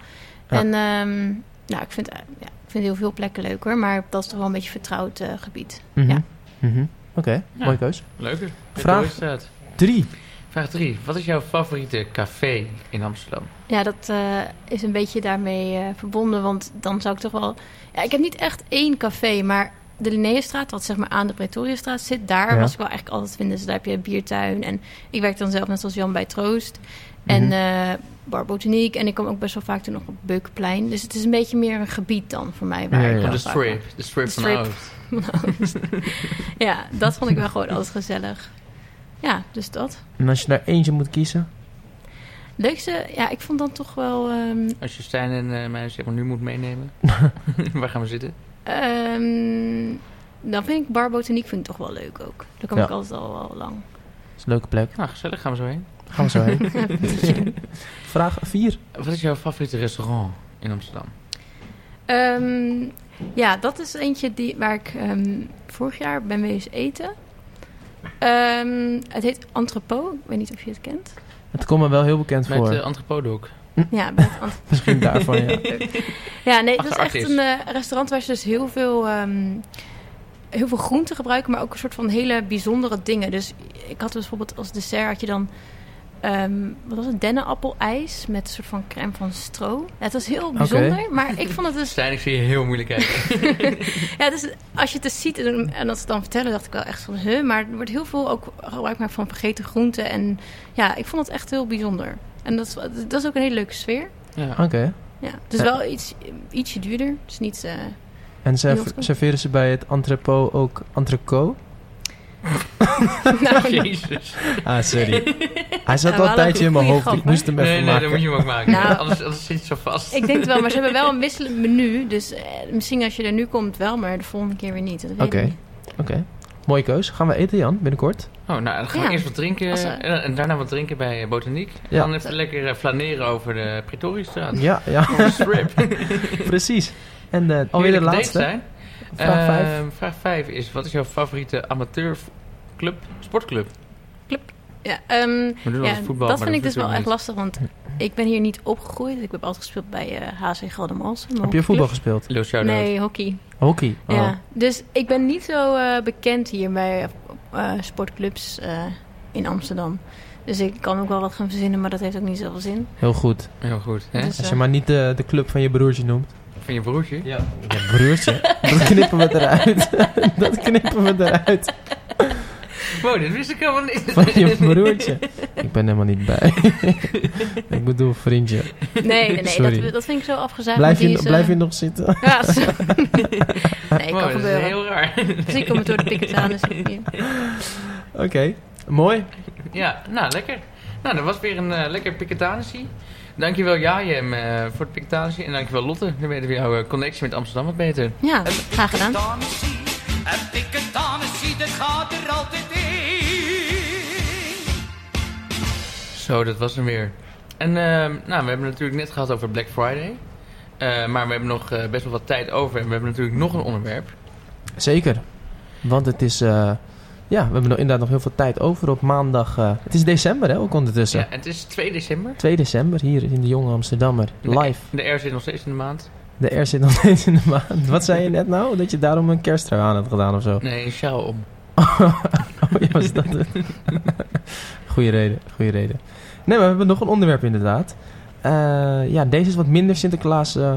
S1: Ja.
S4: En ehm, nou, ik vind, eh, ja, ik vind heel veel plekken leuk hoor. Maar dat is toch wel een beetje vertrouwd eh, gebied.
S1: Mhm.
S4: Ja.
S1: Mhm. Oké,
S3: Ja.
S1: mooie keuze.
S3: Leuke.
S1: Vraag-
S3: Straat.
S1: Drie.
S3: Vraag drie. Wat is jouw favoriete café in Amsterdam?
S4: Ja, dat eh, is een beetje daarmee eh, verbonden. Want dan zou ik toch wel... Ja, ik heb niet echt één café, maar de Linnaeusstraat... wat zeg maar aan de Pretoriastraat zit... daar
S1: Ja.
S4: was ik wel eigenlijk altijd vinden. Dus daar heb je een biertuin. En ik werk dan zelf net als Jan bij Troost. En
S1: Mhm.
S4: eh, Bar Botaniek. En ik kom ook best wel vaak toen nog op Beukenplein. Dus het is een beetje meer een gebied dan voor mij. Waar
S1: Ja,
S4: ik
S1: ja.
S4: wel
S3: Van de
S4: vaak-
S3: strip. De strip
S4: De
S3: van
S4: strip.
S3: Oost.
S4: Ja, dat vond ik wel gewoon altijd gezellig. Ja, dus dat.
S1: En als je daar eentje moet kiezen?
S4: Leukste, ja, ik vond dan toch wel... ehm,
S3: Als je Stijn en eh, mij zeg maar nu moet meenemen, waar gaan we zitten?
S4: ehm, dan vind ik Bar Botaniek vind ik toch wel leuk ook. Daar kom
S1: Ja.
S4: ik altijd al wel lang.
S1: Dat is een leuke plek.
S3: Nou, gezellig, gaan we zo heen.
S1: Gaan we zo heen. Vraag vier.
S3: Wat is jouw favoriete restaurant in Amsterdam?
S4: Ehm, ja, dat is eentje die, waar ik ehm, vorig jaar ben wees eten. Ehm, het heet Entrepot. Ik weet niet of je het kent.
S1: Het komt me wel heel bekend
S3: Met eh,
S1: voor.
S3: de Antropodok.
S4: Ja, bij het Entrepot.
S1: Misschien daarvan, ja.
S4: Ja, nee,
S3: Achter
S4: dat is echt
S3: artiest.
S4: een eh, restaurant waar ze dus heel veel, ehm, heel veel groenten gebruiken, maar ook een soort van hele bijzondere dingen. Dus ik had bijvoorbeeld als dessert had je dan, ehm, wat was het, dennenappelijs met een soort van crème van stro. Ja, het was heel bijzonder, maar ik vond het dus,
S3: Stijn, ik zie je heel moeilijk kijken.
S4: ja, dus als je het dus ziet en, en dat ze het dan vertellen, dacht ik wel echt van, huh, maar er wordt heel veel ook gebruik gemaakt van vergeten groenten. En ja, ik vond het echt heel bijzonder. En dat is, dat is ook een hele leuke sfeer.
S3: ja.
S1: Oké.
S4: Ja, het is
S1: Ja.
S4: wel iets, ietsje duurder. Het is niet eh,
S1: En
S4: Heel
S1: serv-
S4: goed.
S1: serveren ze bij het entrepot ook entrecot?
S4: Nou,
S3: Jezus.
S1: Ah, sorry. Hij zat al
S4: Nou, wel
S1: een
S4: een
S1: tijdje in mijn
S4: goede
S1: hoofd.
S4: grap,
S1: ik moest hem even
S3: Nee, nee,
S1: maken.
S3: dat moet je hem ook maken.
S4: Nou.
S3: Anders, anders zit je zo vast.
S4: ik denk het wel, maar ze hebben wel een wisselend menu. Dus eh, misschien als je er nu komt wel, maar de volgende keer weer niet. Dat weet ik
S1: Oké.
S4: niet.
S1: Oké. Mooie keus. Gaan we eten, Jan, binnenkort?
S3: Oh, nou, dan gaan we
S4: Ja.
S3: eerst wat drinken.
S4: Als, eh,
S3: en, dan- en daarna wat drinken bij eh, Botaniek. En
S1: Ja.
S3: dan even lekker eh, flaneren over de Pretoriestraat.
S1: Ja, ja,
S3: Over de strip.
S1: precies. En eh, alweer de
S3: Heerlijke dates
S1: laatste.
S3: zijn.
S1: Vraag
S3: Ehm,
S1: vijf.
S3: vraag 5 is, wat is jouw favoriete amateurclub, sportclub?
S4: Ja, ehm,
S3: We doen
S4: ja,
S3: altijd voetbal,
S4: dat
S3: maar
S4: vind ik dus
S3: doe
S4: wel echt
S3: niet.
S4: lastig, want ik ben hier niet opgegroeid. Ik heb altijd gespeeld bij eh HC Geldermalsen. mijn
S1: Heb je voetbal
S4: hockeyclub.
S1: gespeeld?
S3: Lil shout-out.
S4: Nee, hockey.
S1: Hockey? Oh.
S4: Ja. Dus ik ben niet zo eh, bekend hier bij eh, sportclubs eh, in Amsterdam. Dus ik kan ook wel wat gaan verzinnen, maar dat heeft ook niet zoveel zin.
S1: Heel goed.
S3: Heel goed. Hè?
S4: Dus,
S1: Als je
S4: eh,
S1: maar niet de, de club van je broertje noemt.
S3: Van je broertje?
S1: Ja. broertje. Dat knippen we eruit. Dat knippen we eruit.
S3: Wow, dit wist ik helemaal niet.
S1: Van je broertje. Ik ben helemaal niet bij. Ik bedoel vriendje.
S4: nee, nee, nee
S1: Sorry.
S4: dat, dat vind ik zo afgezaagd.
S1: Blijf
S4: want die
S1: je,
S4: is, eh,
S1: blijf je nog zitten?
S4: Ja, zo- nee,
S3: Wow,
S4: kan
S3: dat is
S4: gebeuren.
S3: heel raar.
S4: Dus ik kom het door de pikkets aan, dus ik hier.
S1: Oké. Mooi.
S3: Ja, nou lekker. Nou, dat was weer een eh, lekker piketanissie. Dankjewel Jajem eh voor het piketanissie. En dankjewel Lotte. Nu weten we jouw eh, connectie met Amsterdam wat beter.
S4: Ja, graag gedaan.
S5: Tennessee, een dikke Tennessee, dat gaat er altijd in.
S3: Zo, dat was hem weer. En ehm, nou, we hebben het natuurlijk net gehad over Black Friday. Eh, maar we hebben nog eh, best wel wat tijd over. En we hebben natuurlijk nog een onderwerp.
S1: Zeker. Want het is... eh, ja, we hebben nog inderdaad nog heel veel tijd over op maandag. eh, het is december, hè? Ook ondertussen.
S3: Ja, het is 2 december.
S1: 2 december hier in de Jonge Amsterdammer.
S3: Nee.
S1: Live.
S3: De R zit nog steeds in de maand.
S1: De R zit nog steeds in de maand. Wat zei je net nou? Dat je daarom een kersttrui aan had gedaan of zo?
S3: Nee, een sjaal om.
S1: Oh, ja, was dat het? goeie reden, goede reden. Nee, maar we hebben nog een onderwerp inderdaad. Eh, ja, deze is wat minder Sinterklaas eh,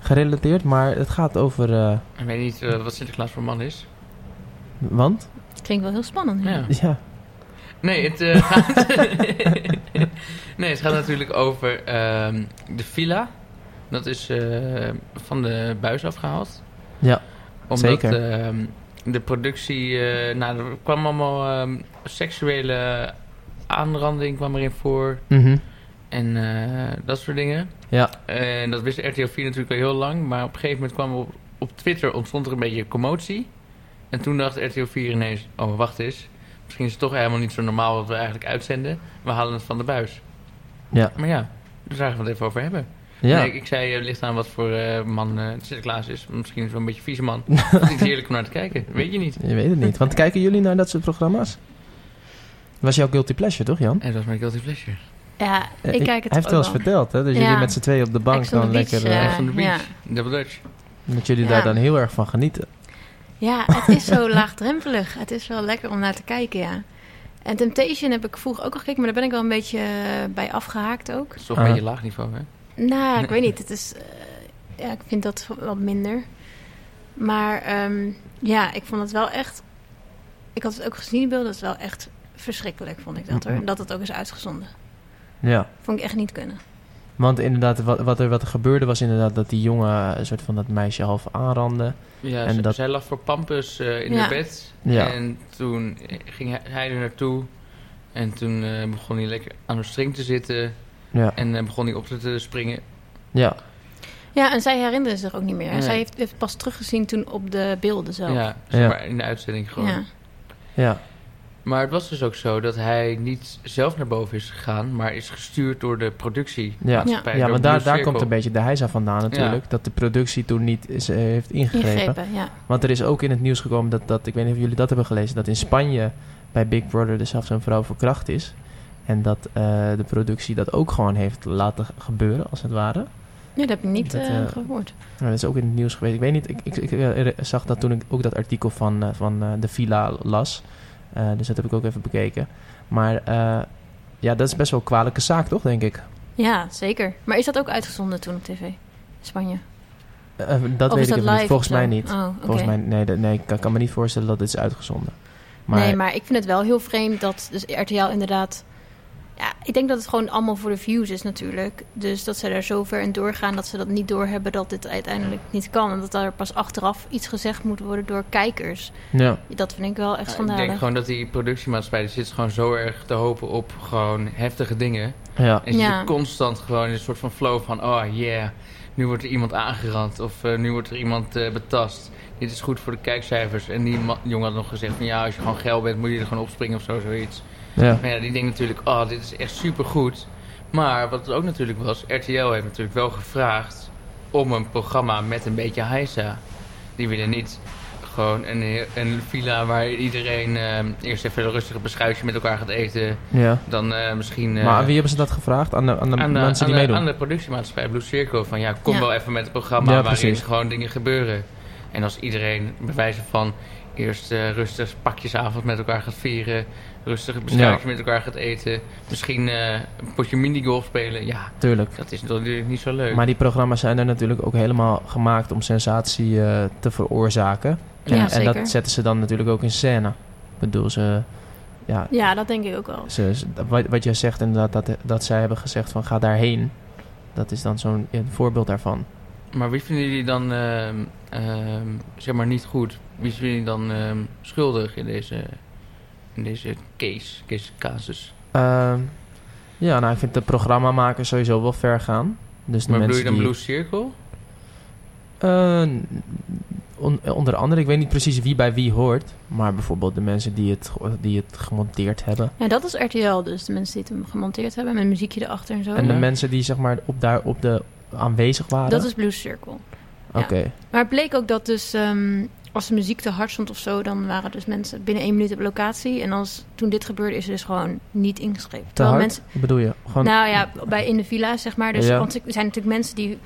S1: gerelateerd, maar het gaat over... eh,
S3: Ik weet niet eh, wat Sinterklaas voor man is.
S1: want?
S4: Klinkt wel heel spannend. hè?
S3: Ja.
S1: Ja.
S3: Nee, het eh, gaat... nee, het gaat natuurlijk over ehm, de villa. Dat is eh, van de buis afgehaald.
S1: Ja,
S3: Omdat,
S1: zeker.
S3: ehm, de productie... eh, nou, er kwam allemaal ehm, seksuele aanranding kwam erin voor.
S1: Mhm.
S3: En eh, dat soort dingen.
S1: Ja.
S3: En dat wist RTL 4 natuurlijk al heel lang. Maar op een gegeven moment kwam op, op Twitter ontstond er een beetje commotie. En toen dacht RTL 4 ineens... Oh, wacht eens. Misschien is het toch helemaal niet zo normaal wat we eigenlijk uitzenden. We halen het van de buis.
S1: Ja.
S3: Maar ja, daar zagen we het even over hebben.
S1: Ja.
S3: Nee, ik, ik zei, het ligt aan wat voor eh, man eh Sinterklaas is. Misschien is wel een beetje een vieze man. Het is niet heerlijk om naar te kijken. Weet je niet.
S1: Je weet het niet. Want kijken jullie naar dat soort programma's? Was jouw guilty pleasure, toch Jan?
S3: En dat was mijn guilty pleasure.
S4: Ja,
S1: Eh,
S4: ik kijk het
S1: Hij heeft
S4: ook
S1: wel eens
S4: wel.
S1: verteld, hè? Dat
S4: Ja.
S1: jullie met z'n tweeën op de bank
S4: Ex on
S1: dan
S4: the beach,
S1: lekker...
S4: ja.
S1: eh,
S3: Echt van de beach. Double Dutch.
S1: dat jullie
S4: Ja.
S1: daar dan heel erg van genieten.
S4: Ja, het is zo laagdrempelig. Het is wel lekker om naar te kijken, ja. En Temptation heb ik vroeger ook al gekeken, maar daar ben ik wel een beetje eh, bij afgehaakt ook.
S3: Dat is toch
S1: Ah.
S3: een beetje laag niveau, hè?
S4: Nou, ik weet niet. Het is, eh, ja, ik vind dat wat minder. Maar ehm, ja, ik vond het wel echt... Ik had het ook gezien in beelden. Het is wel echt verschrikkelijk, vond ik
S1: Mhm.
S4: dat hoor. Dat het ook is uitgezonden.
S1: Ja.
S4: Vond ik echt niet kunnen.
S1: Want inderdaad, wat, wat, er, wat er gebeurde was inderdaad dat die jongen een soort van dat meisje half aanrande.
S3: Ja,
S1: En
S3: z-
S1: dat-
S3: zij lag voor Pampus eh, in
S4: Ja.
S3: haar bed.
S1: Ja.
S3: En toen eh, ging hij- hij er naartoe. En toen eh, begon hij lekker aan haar string te zitten.
S1: Ja.
S3: En eh, begon hij op te- te springen.
S1: Ja,
S4: Ja, en zij herinneren zich ook niet meer.
S3: Nee.
S4: Zij heeft, heeft pas teruggezien toen op de beelden zelf.
S3: Ja,
S1: Ja.
S3: zeg maar in de uitzending gewoon.
S4: Ja.
S1: ja,
S3: Maar het was dus ook zo dat hij niet zelf naar boven is gegaan, maar is gestuurd door de productie.
S1: ja.
S4: Ja.
S1: ja.
S3: Bij- door
S1: maar daar,
S3: Blue
S1: daar
S3: Circle.
S1: komt een beetje de heisa vandaan natuurlijk. Dat de productie toen niet is, eh, heeft ingegrepen.
S4: Ingrepen, ja.
S1: Want er is ook in het nieuws gekomen dat, dat, ik weet niet of jullie dat hebben gelezen, dat in Spanje bij Big Brother er zelfs een vrouw verkracht is. En dat eh, de productie dat ook gewoon heeft laten gebeuren, als het ware.
S4: Nee, dat heb ik niet
S1: Dat,
S4: eh,
S1: eh,
S4: gehoord.
S1: Maar dat is ook in het nieuws geweest. Ik weet niet, ik, ik, ik, eh, zag dat toen ik ook dat artikel van, eh, van eh, de Villa las. Eh, dus dat heb ik ook even bekeken. Maar eh, ja, dat is best wel een kwalijke zaak, toch, denk ik?
S4: Ja, zeker. Maar is dat ook uitgezonden toen op tv? Spanje?
S1: Eh, dat
S4: Of
S1: weet
S4: is
S1: ik
S4: dat
S1: even
S4: live
S1: niet. Volgens
S4: of zo?
S1: mij niet.
S4: Oh, oké.
S1: Volgens mij, nee, dat- nee ik kan, kan me niet voorstellen dat dit is uitgezonden. Maar,
S4: Nee, maar ik vind het wel heel vreemd dat dus RTL inderdaad Ja, ik denk dat het gewoon allemaal voor de views is natuurlijk. Dus dat ze daar zo ver in doorgaan dat ze dat niet doorhebben dat dit uiteindelijk niet kan. En dat daar pas achteraf iets gezegd moet worden door kijkers.
S1: Ja.
S4: Dat vind ik wel echt
S3: ik denk
S4: schandalig.
S3: gewoon dat die productiemaatschappij die zit gewoon zo erg te hopen op gewoon heftige dingen.
S1: ja.
S3: En ze
S4: Ja.
S3: zitten constant gewoon in een soort van flow van... oh yeah, nu wordt er iemand aangerand of eh, nu wordt er iemand eh, betast. Dit is goed voor de kijkcijfers. En die ma- jongen had nog gezegd van... ja, als je gewoon geil bent moet je er gewoon opspringen of zo, zoiets.
S1: ja.
S3: Maar ja, die denkt natuurlijk, oh, dit is echt supergoed. Maar wat het ook natuurlijk was, RTL heeft natuurlijk wel gevraagd om een programma met een beetje heisa. Die willen niet gewoon een, heel- een villa waar iedereen ehm, eerst even rustig een beschuitje met elkaar gaat eten.
S1: ja.
S3: Dan eh, misschien... eh,
S1: Maar aan wie hebben ze dat gevraagd? Aan de, aan de
S3: aan de,
S1: mensen
S3: aan
S1: die
S3: de-
S1: meedoen?
S3: aan de productiemaatschappij Blue Circle van ja, kom
S4: Ja.
S3: wel even met een programma
S1: Ja,
S3: waarin
S1: precies.
S3: gewoon dingen gebeuren. En als iedereen bij wijze van eerst eh, rustig pakjesavond met elkaar gaat vieren, rustig een beschuitje met elkaar gaat eten, misschien eh, een potje minigolf spelen, ja,
S1: Tuurlijk.
S3: dat is natuurlijk niet zo leuk.
S1: Maar die programma's zijn er natuurlijk ook helemaal gemaakt om sensatie eh, te veroorzaken.
S4: Ja,
S1: en, en
S4: zeker.
S1: dat zetten ze dan natuurlijk ook in scène. Ik bedoel, ze, ja,
S4: Ja, dat denk ik ook wel.
S1: ze, ze- wat, wat jij zegt inderdaad, dat, dat zij hebben gezegd van ga daarheen. Dat is dan zo'n een voorbeeld daarvan.
S3: Maar wie vinden jullie dan ehm, ehm, zeg maar niet goed? Wie vinden jullie dan ehm, schuldig in deze, in deze case, case casus?
S1: Ehm, ja, nou, ik vind de programmamakers sowieso wel ver gaan. Dus de
S3: Maar bedoel je
S1: mensen
S3: dan
S1: die,
S3: Blue Circle?
S1: Eh, on- onder andere, ik weet niet precies wie bij wie hoort. Maar bijvoorbeeld de mensen die het, ge- die het gemonteerd hebben.
S4: Ja, dat is RTL dus. De mensen die het hem gemonteerd hebben met muziekje erachter en zo.
S1: En de
S3: Ja.
S1: mensen die zeg maar op, daar op de aanwezig waren.
S4: Dat is Blue Circle.
S1: Oké.
S4: Maar het bleek ook dat dus ehm, als de muziek te hard stond of zo, dan waren dus mensen binnen één minuut op locatie. En als toen dit gebeurde, is er dus gewoon niet ingeschreven.
S1: Te
S4: Terwijl
S1: hard?
S4: mensen-
S1: Bedoel je? Gewoon,
S4: nou ja, bij in de villa zeg maar. Dus,
S1: Ja.
S4: Want er zijn natuurlijk mensen die.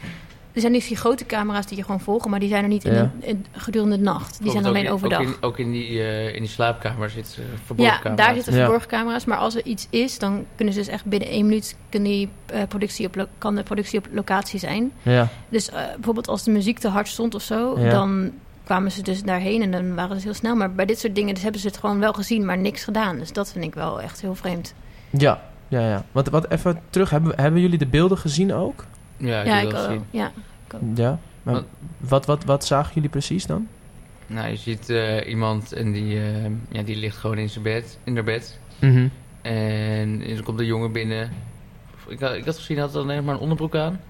S4: Er zijn dus die grote camera's die je gewoon volgen, maar die zijn er niet
S1: Ja.
S4: in de, in- gedurende de nacht. Die zijn
S3: Bijvoorbeeld ook
S4: alleen
S3: in-
S4: overdag.
S3: Ook in, ook in die, eh, in die slaapkamer zit eh, verborgen
S4: Ja,
S3: camera's.
S4: daar zitten
S1: Ja.
S4: verborgen camera's. Maar als er iets is, dan kunnen ze dus echt binnen één minuut kunnen die, eh, productie op lo- kan de productie op locatie zijn.
S1: ja.
S4: Dus eh, bijvoorbeeld als de muziek te hard stond of zo,
S1: Ja. dan
S4: dan kwamen ze dus daarheen en dan waren ze heel snel. Maar bij dit soort dingen dus hebben ze het gewoon wel gezien, maar niks gedaan. Dus dat vind ik wel echt heel vreemd.
S1: Ja. Ja, ja. Wat, wat even terug. Hebben, hebben jullie de beelden gezien ook?
S3: Ja, ik
S4: ja,
S3: wil
S4: ik
S3: dat
S4: ook.
S3: zien.
S4: Ja.
S1: Ja. Maar
S3: Wat-
S1: wat, wat, wat zagen jullie precies dan?
S3: Nou, je ziet eh, iemand en die, eh, ja, die ligt gewoon in zijn bed, in haar bed. En er komt een jongen binnen. Ik had, ik had gezien, hij had alleen maar een onderbroek aan.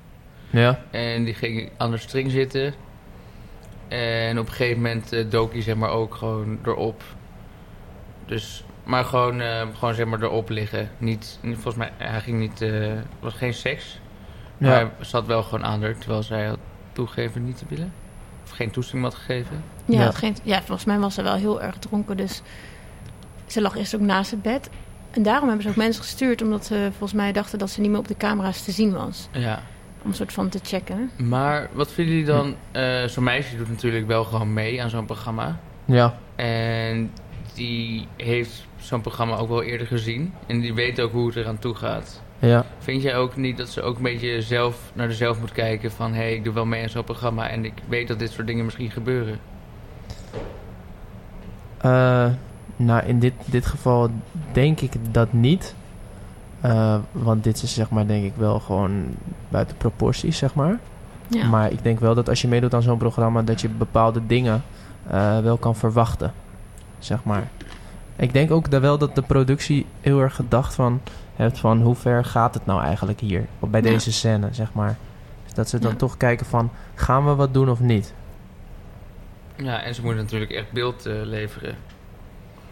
S1: Ja.
S3: En die ging aan de string zitten. En op een gegeven moment eh, dook hij zeg maar ook gewoon erop. Dus, maar gewoon, eh, gewoon zeg maar erop liggen. Niet, niet- volgens mij, hij ging niet, eh, er was geen seks.
S1: Ja.
S3: Maar hij zat wel gewoon aan haar, terwijl zij had toegegeven niet te willen. Of geen toestemming had gegeven.
S4: Ja,
S1: Ja.
S4: het geen- ja, volgens mij was ze wel heel erg dronken. Dus ze lag eerst ook naast het bed. En daarom hebben ze ook mensen gestuurd, omdat ze volgens mij dachten dat ze niet meer op de camera's te zien was.
S3: Ja.
S4: Om een soort van te checken.
S3: Maar wat vinden jullie dan? eh, zo'n meisje doet natuurlijk wel gewoon mee aan zo'n programma.
S1: ja.
S3: En die heeft zo'n programma ook wel eerder gezien. En die weet ook hoe het eraan toe gaat.
S1: Ja.
S3: Vind jij ook niet dat ze ook een beetje zelf naar zichzelf moet kijken van... hé, hey, ik doe wel mee aan zo'n programma en ik weet dat dit soort dingen misschien gebeuren.
S1: Eh, nou, in dit, dit geval denk ik dat niet. Eh, want dit is zeg maar denk ik wel gewoon buiten proporties, zeg maar.
S4: Ja.
S1: Maar ik denk wel dat als je meedoet aan zo'n programma, dat je bepaalde dingen eh, wel kan verwachten. Zeg maar. Ik denk ook dat wel dat de productie heel erg gedacht van heeft van hoe ver gaat het nou eigenlijk hier? Op- Bij
S4: Ja.
S1: deze scène, zeg maar. Dus dat ze dan
S4: Ja.
S1: toch kijken van gaan we wat doen of niet?
S3: Ja, en ze moeten natuurlijk echt beeld eh, leveren.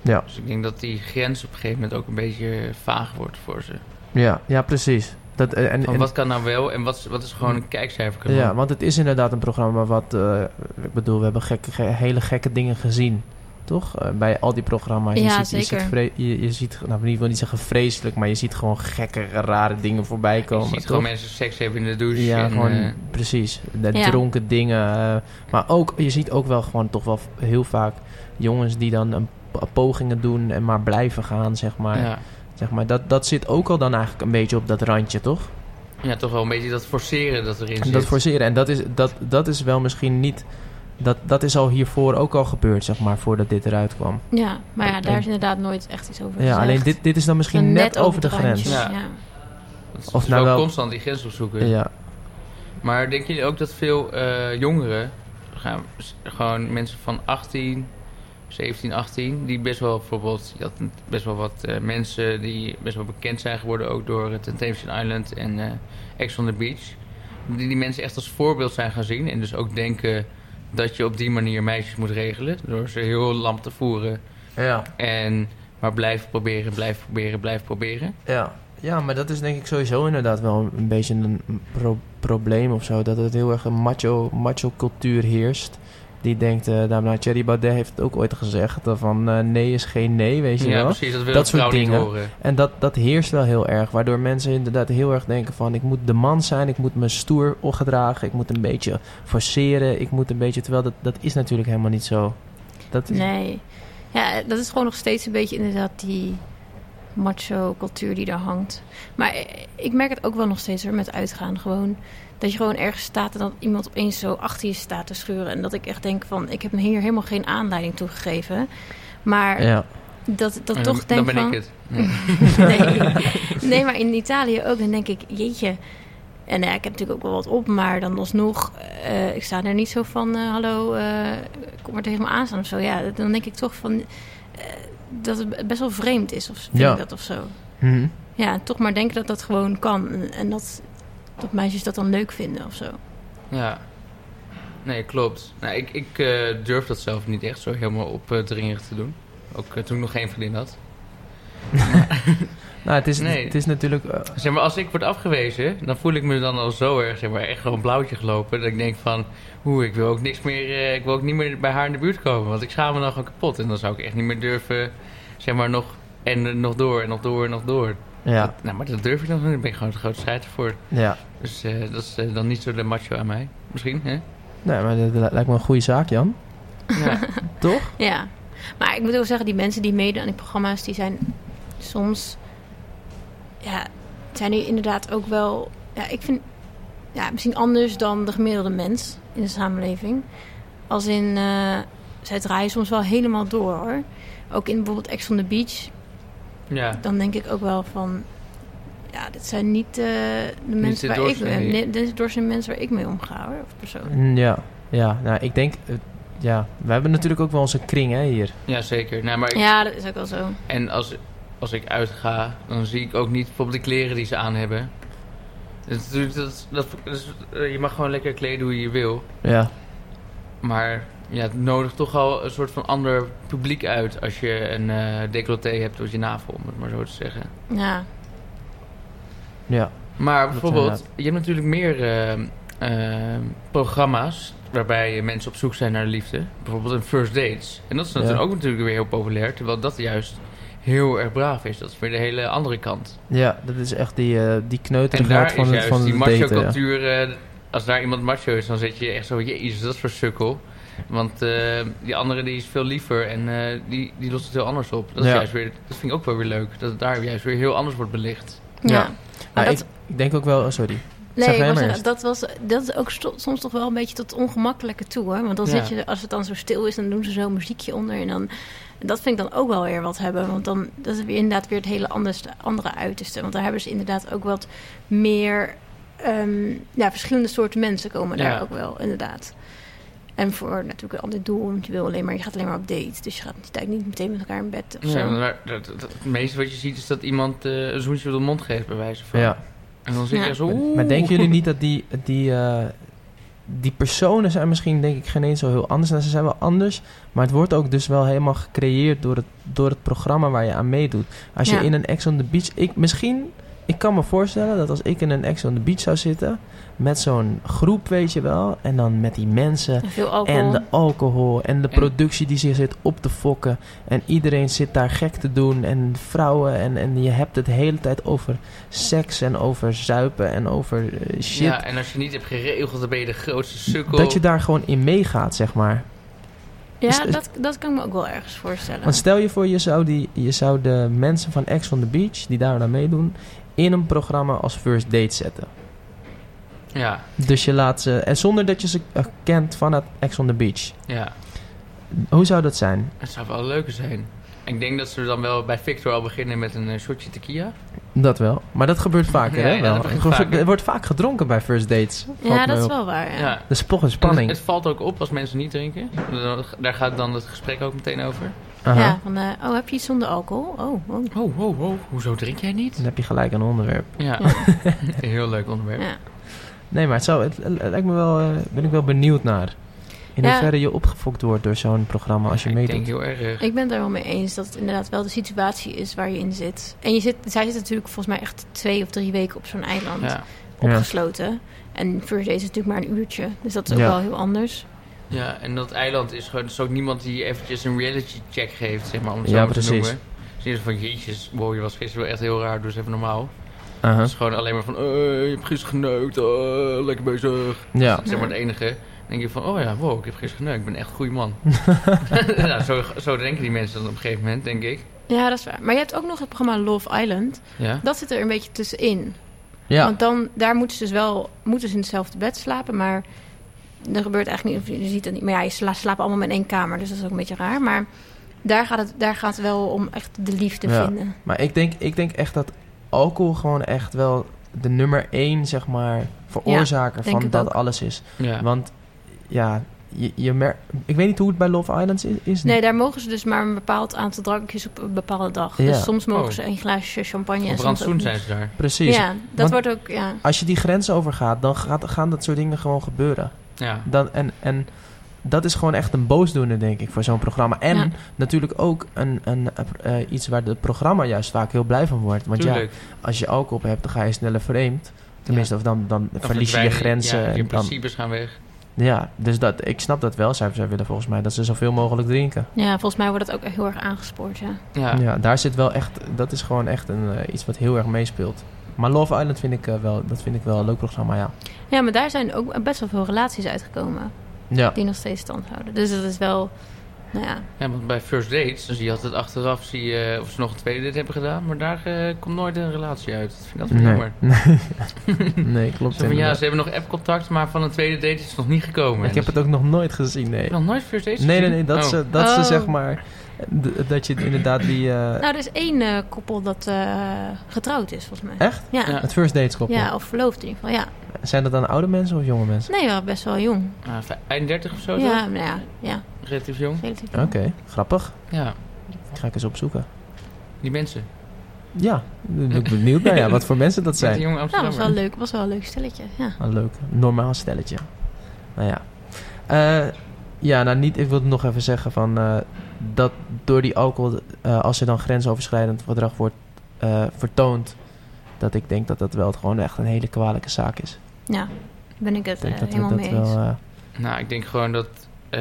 S1: Ja.
S3: Dus ik denk dat die grens op een gegeven moment ook een beetje eh, vaag wordt voor ze.
S1: Ja, ja precies. Dat, eh, en,
S3: Van
S1: en-
S3: wat kan nou wel en wat, is- wat is gewoon een kijkcijfer?
S1: ja, want het is inderdaad een programma wat, eh, ik bedoel, we hebben gekke, ge- hele gekke dingen gezien. Toch? Eh, bij al die programma's. je
S4: Ja,
S1: ziet, Je
S4: zeker.
S1: ziet, vre- je, je ziet nou, ik wil niet zeggen vreselijk, maar je ziet gewoon gekke, rare dingen voorbij
S3: je
S1: komen.
S3: ziet
S1: toch?
S3: gewoon mensen seks hebben in de douche.
S1: ja,
S3: en,
S1: gewoon
S3: eh,
S1: precies. De
S4: Ja.
S1: dronken dingen. eh, maar ook, je ziet ook wel gewoon toch wel heel vaak jongens die dan een, p- pogingen doen en maar blijven gaan, zeg maar.
S3: ja.
S1: Zeg maar dat, dat zit ook al dan eigenlijk een beetje op dat randje, toch?
S3: ja, toch wel een beetje dat forceren dat erin
S1: En
S3: zit.
S1: dat forceren. En dat is, dat, dat is wel misschien niet Dat, dat is al hiervoor ook al gebeurd, zeg maar, voordat dit eruit kwam.
S4: Ja, maar ja, daar
S1: En-
S4: is inderdaad nooit echt iets over
S1: Ja,
S4: gezegd.
S1: alleen dit, dit is dan misschien
S4: Dan
S1: net, over de
S4: het
S1: grens.
S4: randje,
S3: Ja.
S4: ja.
S3: Dat is
S1: Of
S3: dus
S1: nou
S3: wel
S1: wel-
S3: constant die grens opzoeken.
S1: Ja,
S3: Maar denk je ook dat veel eh, jongeren, gaan, s- gewoon mensen van 18, 17, 18, die best wel bijvoorbeeld, je had best wel wat eh, mensen die best wel bekend zijn geworden ook door het Temptation Island en eh Ex on the Beach, die die mensen echt als voorbeeld zijn gaan zien en dus ook denken dat je op die manier meisjes moet regelen door ze heel lam te voeren
S1: ja,
S3: en maar blijven proberen, blijven proberen, blijven proberen.
S1: ja. Ja, maar dat is denk ik sowieso inderdaad wel een beetje een pro- probleem of zo. Dat het heel erg een macho, macho cultuur heerst. Die denkt, eh daarna Thierry Baudet heeft het ook ooit gezegd, eh, van eh, nee is geen nee, weet je
S3: ja,
S1: wel.
S3: precies, dat wil
S1: Dat
S3: dat
S1: soort
S3: vrouw niet
S1: dingen.
S3: horen.
S1: En dat, dat heerst wel heel erg. Waardoor mensen inderdaad heel erg denken van... ik moet de man zijn, ik moet me stoer gedragen... ik moet een beetje forceren, ik moet een beetje... Terwijl dat, dat is natuurlijk helemaal niet zo. Dat is,
S4: Nee. Ja, dat is gewoon nog steeds een beetje inderdaad die macho-cultuur die daar hangt. Maar eh, ik merk het ook wel nog steeds hoor, met uitgaan gewoon. Dat je gewoon ergens staat en dat iemand opeens zo achter je staat te schuren. En dat ik echt denk van, ik heb me hier helemaal geen aanleiding toe gegeven. Maar
S1: Ja,
S4: dat, dat
S3: En
S4: toch
S3: dan,
S4: denk
S3: dan ben
S4: van...
S3: ik het. Ja.
S4: Nee. nee, maar in Italië ook. Dan denk ik, jeetje. En nou ja, ik heb natuurlijk ook wel wat op, maar dan alsnog, eh, ik sta er niet zo van, eh, hallo, eh, kom maar tegen me aan staan of zo. Ja, dan denk ik toch van, eh, dat het best wel vreemd is of vind
S1: Ja.
S4: ik dat of zo.
S1: Mhm.
S4: Ja, en toch maar denken dat dat gewoon kan en, en dat, dat meisjes dat dan leuk vinden of zo.
S3: Ja. Nee, klopt. Nou, ik ik eh, durf dat zelf niet echt zo helemaal opdringerig te doen. Ook eh, toen ik nog geen vriendin had.
S1: nou, het is,
S3: Nee.
S1: het is natuurlijk... eh,
S3: Zeg maar, als ik word afgewezen, dan voel ik me dan al zo erg, zeg maar, echt gewoon blauwtje gelopen. Dat ik denk van, oeh, ik wil ook niks meer, eh, ik wil ook niet meer bij haar in de buurt komen. Want ik schaam me dan gewoon kapot. En dan zou ik echt niet meer durven, zeg maar, nog, en eh, nog door, en nog door, en nog door.
S1: ja,
S3: Nou, maar dat durf ik dan, niet. daar ben ik gewoon te groot strijder voor.
S1: ja.
S3: Dus eh, dat is eh, dan niet zo de macho aan mij. Misschien, hè?
S1: Nee, maar dat li- lijkt me een goede zaak, Jan.
S3: Ja.
S1: Toch?
S4: Ja, maar ik moet wel zeggen, die mensen die meedoen aan die programma's, die zijn soms, ja, zijn die inderdaad ook wel, ja, ik vind, ja, misschien anders dan de gemiddelde mens in de samenleving. Als in, eh, zij draaien soms wel helemaal door hoor. Ook in bijvoorbeeld Ex on the Beach,
S3: ja.
S4: dan denk ik ook wel van, ja, dit zijn niet eh, de mensen
S3: de
S4: waar ik,
S3: doorsnee.
S4: nee, dit is doorsnee mensen waar ik mee omga hoor, of persoon.
S1: Mm, Ja, ja. Nou, ik denk... eh, ja, we hebben natuurlijk ook wel onze kring, hè, hier.
S3: ja, zeker. Nou, maar ik-
S4: Ja, dat is ook wel zo.
S3: En als, als ik uitga, dan zie ik ook niet bijvoorbeeld de kleren die ze aan hebben. Dus natuurlijk, dat, dat, dat is- eh, je mag gewoon lekker kleden hoe je wil.
S1: Ja,
S3: Maar ja, het nodigt toch al een soort van ander publiek uit als je een eh, decolleté hebt door je navel, om het maar zo te zeggen.
S4: Ja,
S1: ja.
S3: Maar
S1: inderdaad.
S3: bijvoorbeeld, je hebt natuurlijk meer eh, eh, programma's waarbij mensen op zoek zijn naar liefde. Bijvoorbeeld een first dates. En dat is natuurlijk
S1: Ja.
S3: ook natuurlijk weer heel populair, terwijl dat juist heel erg braaf is. Dat is weer de hele andere kant.
S1: Ja, dat is echt die, eh die
S3: En daar
S1: kneuterigheid
S3: is
S1: van, het-
S3: juist
S1: van
S3: die
S1: het daten. ja.
S3: macho-cultuur... eh, als daar iemand macho is, dan zit je echt zo... Jezus, dat is voor sukkel. Want eh, die andere die is veel liever en eh, die, die lost het heel anders op. Dat, is
S1: Ja.
S3: juist weer, dat vind ik ook wel weer leuk. Dat het daar juist weer heel anders wordt belicht.
S4: ja.
S1: Ja.
S4: Maar
S1: Nou,
S4: dat-
S1: ik, ik denk ook wel... oh, sorry. Zeg
S4: Nee,
S1: jij
S4: ik
S1: maar
S4: was-
S1: eerst.
S4: dat, was, dat is ook sto- soms toch wel een beetje tot ongemakkelijke toe. Hè? Want dan
S3: Ja.
S4: zit je, als het dan zo stil is, dan doen ze zo'n muziekje onder. En dan, dat vind ik dan ook wel weer wat hebben. Want dan dat is weer inderdaad weer het hele anders, andere uiterste. Want daar hebben ze inderdaad ook wat meer... ehm, ja, verschillende soorten mensen komen daar
S3: Ja.
S4: ook wel, inderdaad. En voor natuurlijk een ander doel. Want je, wil alleen maar, je gaat alleen maar op date. Dus je gaat natuurlijk niet meteen met elkaar in bed of zo.
S3: Ja, want daar- dat, dat- het meeste wat je ziet is dat iemand eh, een zoentje op de mond geeft, bij wijze van.
S1: Ja.
S3: En dan zit je
S4: Ja.
S3: echt zo...
S1: Maar,
S3: oeh.
S1: maar denken jullie niet dat die, die, eh, die personen zijn misschien denk ik geen eens zo heel anders. Nou, ze zijn wel anders, maar het wordt ook dus wel helemaal gecreëerd door het, door het programma waar je aan meedoet. Als
S4: Ja.
S1: je in een Ex on the Beach... Ik, misschien, ik kan me voorstellen dat als ik in een Ex on the Beach zou zitten... met zo'n groep, weet je wel, en dan met die mensen...
S4: En veel alcohol.
S1: En de alcohol en de
S3: En-
S1: productie die zich zit op te fokken. En iedereen zit daar gek te doen. En vrouwen en, en je hebt het de hele tijd over seks en over zuipen en over eh, shit.
S3: Ja, en als je niet hebt geregeld, dan ben je de grootste sukkel.
S1: dat je daar gewoon in meegaat, zeg maar.
S4: ja,
S1: is-
S4: dat, dat kan ik me ook wel ergens voorstellen.
S1: Want stel je voor, je zou, die, je zou de mensen van Ex on the Beach, die daar aan meedoen, in een programma als first date zetten.
S3: Ja,
S1: Dus je laat ze... En zonder dat je ze eh, kent vanuit Ex on the Beach.
S3: ja.
S1: Hoe zou dat zijn?
S3: Het zou wel leuker zijn. Ik denk dat ze dan wel bij Victor al beginnen met een eh, shotje tequila.
S1: Dat wel. Maar dat gebeurt vaker,
S3: Ja,
S1: hè?
S3: ja,
S1: Wel.
S3: dat gebeurt
S1: Er
S3: vaker.
S1: wordt vaak gedronken bij first dates. Valt
S4: Ja,
S1: mij
S4: dat is
S1: op.
S4: wel waar. Ja.
S3: Ja.
S1: Dat is toch een
S3: En
S1: spanning.
S3: Het, het valt ook op als mensen niet drinken. Dan- Daar gaat dan het gesprek ook meteen over.
S1: Aha.
S4: Ja, van, eh, oh, heb je iets zonder alcohol? Oh, oh.
S3: Oh, oh, oh, hoezo drink jij niet?
S1: Dan heb je gelijk een onderwerp.
S3: Ja, een heel leuk onderwerp.
S4: Ja.
S1: Nee, maar het, zou, het, het lijkt me wel, eh, ben ik wel benieuwd naar. In
S4: Ja.
S1: hoeverre je opgefokt wordt door zo'n programma als je
S3: ik denk
S1: meedoet.
S3: heel erg. eh,
S4: Ik ben het daar wel mee eens dat het inderdaad wel de situatie is waar je in zit. En je zit, zij zitten natuurlijk volgens mij echt twee of drie weken op zo'n eiland
S3: ja.
S4: opgesloten. En First Days is natuurlijk maar een uurtje, dus dat is ook
S1: Ja.
S4: wel heel anders.
S3: ja, en dat eiland is gewoon, er is ook niemand die eventjes een reality check geeft, zeg maar, om het
S1: Ja,
S3: zo maar te
S1: precies.
S3: noemen. Dus in ieder geval, jeetjes, wow, je was gisteren wel echt heel raar, dus even normaal.
S1: Aha.
S3: Het is gewoon alleen maar van, eh, je hebt gisteren geneukt, eh, lekker bezig.
S1: Ja.
S3: Zeg maar het enige. Dan denk je van, oh ja, wow, ik heb gisteren geneukt, ik ben echt een goede man. nou, zo, zo denken die mensen dan op een gegeven moment, denk ik.
S4: Ja, dat is waar. Maar je hebt ook nog het programma Love Island.
S3: Ja.
S4: Dat zit er een beetje tussenin.
S1: Ja.
S4: Want dan, daar moeten ze dus wel moeten ze in hetzelfde bed slapen, maar er gebeurt eigenlijk niet, of je ziet dat niet. Maar ja, je sla, slaapt allemaal in één kamer, dus dat is ook een beetje raar. Maar daar gaat het, daar gaat het wel om echt de liefde
S1: Ja.
S4: vinden.
S1: Maar ik denk, ik denk echt dat alcohol gewoon echt wel de nummer één, zeg maar, veroorzaker
S4: denk
S1: van
S4: het
S1: dat
S4: ook.
S1: alles is.
S3: ja.
S1: Want ja, je, je merkt. Ik weet niet hoe het bij Love Islands is. is
S4: Nee, daar mogen ze dus maar een bepaald aantal drankjes op een bepaalde dag.
S1: Ja.
S4: Dus soms mogen
S3: Oh.
S4: ze een glaasje champagne en
S3: Op
S4: soms ook
S3: rantsoen
S4: niet.
S3: zijn ze daar.
S1: Precies.
S4: Ja,
S1: Want-
S4: dat wordt ook, ja.
S1: Als je die grens overgaat, dan gaat, gaan dat soort dingen gewoon gebeuren.
S3: Ja.
S1: Dan, en, en dat is gewoon echt een boosdoener, denk ik, voor zo'n programma. En
S4: Ja.
S1: natuurlijk ook een, een, eh, eh, iets waar het programma juist vaak heel blij van wordt. Want
S3: Tuurlijk.
S1: ja, als je alcohol op hebt, dan ga je sneller vreemd. Tenminste, of dan, dan,
S3: Dan
S1: verlies je je
S3: verdwijnen-
S1: grenzen.
S3: Ja, je
S1: en dan,
S3: principes gaan weg.
S1: ja, dus dat, ik snap dat wel. Zij, zij willen volgens mij dat ze zoveel mogelijk drinken.
S4: Ja, volgens mij wordt dat ook echt heel erg aangespoord, ja.
S3: Ja.
S1: Ja. daar zit wel echt... Dat is gewoon echt een, eh, iets wat heel erg meespeelt. Maar Love Island vind ik, eh, wel, dat vind ik wel een leuk programma, ja.
S4: Ja, maar daar zijn ook best wel veel relaties uitgekomen
S1: Ja,
S4: die nog steeds stand houden. Dus dat is wel, nou ja.
S3: Ja, want bij first dates, dan zie je altijd achteraf zie je, of ze nog een tweede date hebben gedaan. Maar daar eh, komt nooit een relatie uit. Dat vind ik altijd wel
S1: nee.
S3: jammer.
S1: nee, klopt
S3: Zo van, ja,
S1: inderdaad.
S3: ze hebben nog app-contact, maar van een tweede date is het nog niet gekomen.
S1: Ik heb het ook nog nooit gezien, nee.
S3: dus. nog nooit first dates
S1: Nee, nee,
S3: gezien?
S1: nee, dat,
S3: Oh.
S1: ze, dat ze
S4: Oh.
S1: zeg maar... d- dat je inderdaad die... eh,
S4: Nou, er is één eh, koppel dat eh, getrouwd is, volgens mij.
S1: Echt?
S4: Ja.
S3: Ja.
S4: ja.
S1: Het first dates koppel.
S4: of verloofd in ieder geval, ja.
S1: Zijn dat dan oude mensen of jonge mensen?
S4: Nee, wel best wel jong.
S3: Ah, vij- 31 of zo,
S4: Ja,
S3: ja.
S4: nou ja, ja.
S3: relatief jong.
S4: relatief
S1: Oké,
S4: jong.
S1: grappig.
S3: Ja,
S1: Ga ik eens opzoeken.
S3: die mensen.
S1: Ja, daar ben ik benieuwd naar ja, wat voor mensen dat
S3: Zijn.
S1: zijn.
S3: Die jonge
S4: Nou, was
S3: Amsterdammer.
S4: wel leuk, was wel een leuk stelletje, ja.
S1: Een leuk, normaal stelletje. Nou ja. Eh, ja, nou niet, ik wil nog even zeggen van eh, dat door die alcohol, eh, als er dan grensoverschrijdend gedrag wordt eh, vertoond, dat ik denk dat dat wel gewoon echt een hele kwalijke zaak is.
S4: Ja, ben ik het
S1: Ik denk
S4: eh,
S1: dat we
S4: helemaal
S1: dat
S4: mee eens.
S1: wel. eh,
S3: Nou, ik denk gewoon dat eh,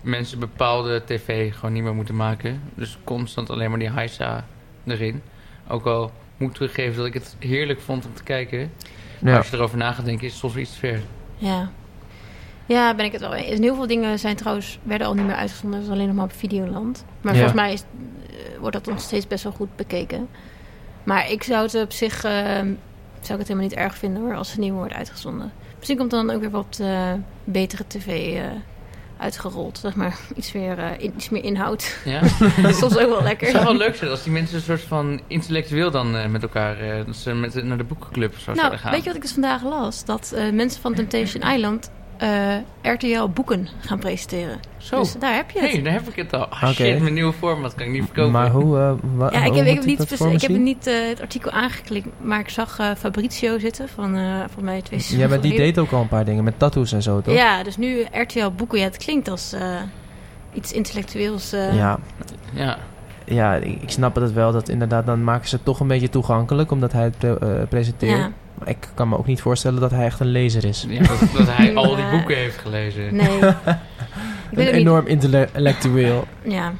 S3: mensen bepaalde tv gewoon niet meer moeten maken. Dus constant alleen maar die heisa erin. Ook al moet ik teruggeven dat ik het heerlijk vond om te kijken. Maar
S1: ja.
S3: als je erover na gaat denken, is het soms weer iets te ver.
S4: Ja. Ja, ben ik het wel mee eens. En heel veel dingen zijn trouwens, werden al niet meer uitgezonden. Dat is alleen nog maar op Videoland. Maar
S1: Ja.
S4: volgens mij is, eh, wordt dat nog steeds best wel goed bekeken. Maar ik zou het op zich... eh, zou ik het helemaal niet erg vinden hoor, als het niet meer wordt uitgezonden. Misschien komt het dan ook weer wat eh, betere tv eh, uitgerold. Zeg maar, iets, weer, eh, in- iets meer inhoud.
S3: Ja?
S4: Dat is soms ook wel
S3: het zou
S4: lekker.
S3: wel leuk zijn als die mensen een soort van intellectueel dan eh, met elkaar... eh, dat ze met, naar de boekenclub of zo
S4: Nou,
S3: zouden gaan.
S4: weet je wat ik dus vandaag las? Dat eh, mensen van Temptation Island eh, RTL boeken gaan presenteren.
S3: Zo,
S4: Dus daar heb je het.
S3: Oh, hey, daar heb ik het al. Ah
S1: Oké.
S3: shit, mijn nieuwe format kan ik niet verkopen.
S1: Maar hoe, eh, wa-
S4: Ja, ik
S1: hoe
S4: heb,
S1: moet
S4: ik heb niet,
S1: dat
S4: spec-
S1: voor me
S4: ik heb
S1: zien?
S4: niet eh, het artikel aangeklikt, maar ik zag eh, Fabrizio zitten van eh volgens mij twee
S1: Ja, maar die
S4: seizoenen
S1: deed ook al een paar dingen met tattoos en zo, toch?
S4: geleden. Ja, dus nu RTL Boeken, ja, het klinkt als eh, iets intellectueels. eh.
S1: Ja,
S3: Ja,
S1: ja, ik, ik snap het wel. Dat inderdaad, dan maken ze het toch een beetje toegankelijk, omdat hij het pre- eh, presenteert.
S4: Ja,
S1: Maar ik kan me ook niet voorstellen dat hij echt een lezer is.
S3: ja dat, dat hij al die
S4: Ja.
S3: boeken heeft gelezen.
S4: nee. ik
S1: Een
S4: weet het
S1: enorm intellectueel.
S4: niet. Ja.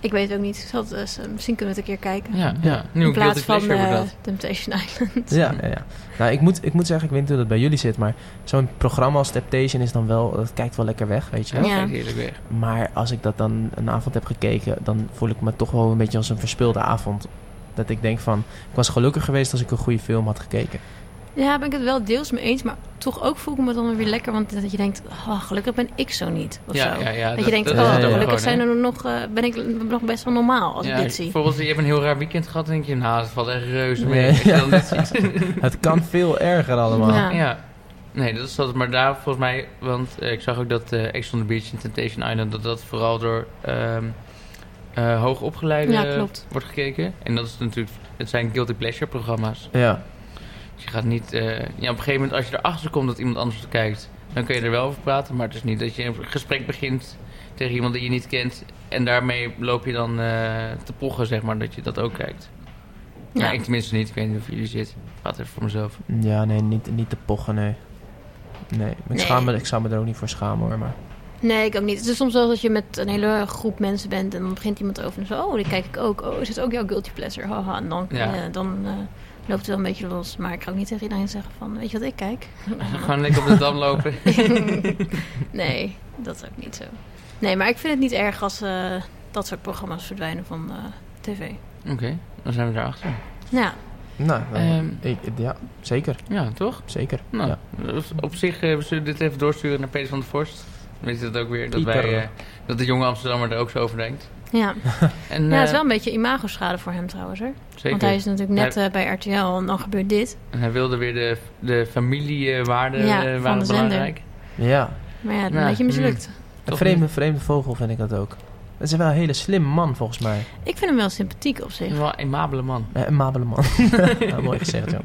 S4: Ik weet het ook niet. Ik zal het, eh, misschien kunnen we het een keer kijken.
S3: Ja, ja. Nu
S4: In
S3: ook guilty
S4: plaats van
S3: pleasure wordt
S4: eh,
S3: dat.
S4: Temptation Island.
S1: ja, ja, ja. Nou, ik moet, ik moet zeggen, ik weet niet hoe dat bij jullie zit, maar zo'n programma als Temptation is dan wel, dat kijkt wel lekker weg, weet je.
S3: Ja,
S4: Ja.
S3: kijk, heerlijk weg.
S1: Maar als ik dat dan een avond heb gekeken, dan voel ik me toch wel een beetje als een verspilde avond. Dat ik denk van, ik was gelukkig geweest als ik een goede film had gekeken.
S4: Ja, ben ik het wel deels mee eens, maar toch ook voel ik me dan weer lekker. Want dat je denkt, oh, gelukkig ben ik zo niet. Of
S3: Ja,
S4: zo.
S3: ja, ja,
S4: dat,
S3: dat-
S4: je denkt,
S3: dat
S1: is
S4: oh,
S1: het ook
S4: gelukkig
S3: gewoon,
S4: zijn
S3: hè?
S4: er nog, eh, ben ik nog best wel normaal als
S3: Ja,
S4: ik dit zie.
S3: Bijvoorbeeld, je hebt een heel raar weekend gehad en denk je, nou, dat valt echt reuze mee.
S1: Nee.
S3: als je dan dit ziet.
S1: Het kan veel erger allemaal.
S4: Ja.
S3: Ja. Nee, dat is dat. Maar daar volgens mij... Want eh, ik zag ook dat eh Ex on the Beach en Temptation Island... dat dat vooral door ehm eh, hoogopgeleide
S4: Ja, klopt.
S3: wordt gekeken. En dat is natuurlijk... Het zijn guilty pleasure programma's.
S1: Ja.
S3: Dus je gaat niet... eh, ja, op een gegeven moment als je erachter komt dat iemand anders het kijkt... dan kun je er wel over praten. Maar het is niet dat je een gesprek begint tegen iemand die je niet kent... en daarmee loop je dan eh, te pochen, zeg maar, dat je dat ook kijkt. Ja.
S4: Ja.
S3: ik tenminste niet. Ik weet niet of jullie zitten. Ik praat even voor mezelf.
S1: Ja, nee, niet, niet te pochen, nee. Nee, ik,
S4: Nee.
S1: Schaam me, ik zou me er ook niet voor schamen hoor, maar...
S4: Nee, ik ook niet. Het is soms wel dat je met een hele groep mensen bent en dan begint iemand over en zo, oh, die kijk ik ook. Oh, is het ook jouw guilty pleasure? Haha. En dan,
S3: Ja.
S4: eh, dan eh, loopt het wel een beetje los. Maar ik ga ook niet tegen iedereen zeggen van, weet je wat ik kijk?
S3: Gewoon lekker op de dam lopen.
S4: nee, dat is ook niet zo. Nee, maar ik vind het niet erg als eh, dat soort programma's verdwijnen van eh, tv.
S3: Oké, dan zijn we daarachter.
S4: Ja,
S1: Nou, dan-
S3: Ehm.
S1: ik, ja, zeker,
S3: Ja, toch?
S1: zeker.
S3: Nou,
S1: Ja.
S3: dus op zich eh, we zullen dit even doorsturen naar Peter van der Vorst. Dan Weet je dat ook weer? Dat,
S1: Pieter.
S3: wij, eh, dat de jonge Amsterdammer er ook zo over denkt.
S4: ja.
S3: En,
S4: ja, het
S3: eh,
S4: is wel een beetje imagoschade voor hem trouwens, hoor.
S3: Zeker.
S4: Want hij is natuurlijk net eh, bij RTL en dan gebeurt dit.
S3: En hij wilde weer de, de familiewaarden
S4: Ja,
S3: eh,
S4: van
S3: waren
S4: de zender.
S3: belangrijk.
S1: Ja,
S4: Maar ja, het is
S3: Ja,
S4: een beetje mislukt.
S1: een
S3: Toch
S1: vreemde, vreemde vogel vind ik dat ook. Het is wel een hele slim man volgens mij.
S4: Ik vind hem wel sympathiek op
S3: Hij
S4: zich.
S3: is Wel een aimabele man.
S1: Eh, een mabele man. Ja, mooi gezegd, joh.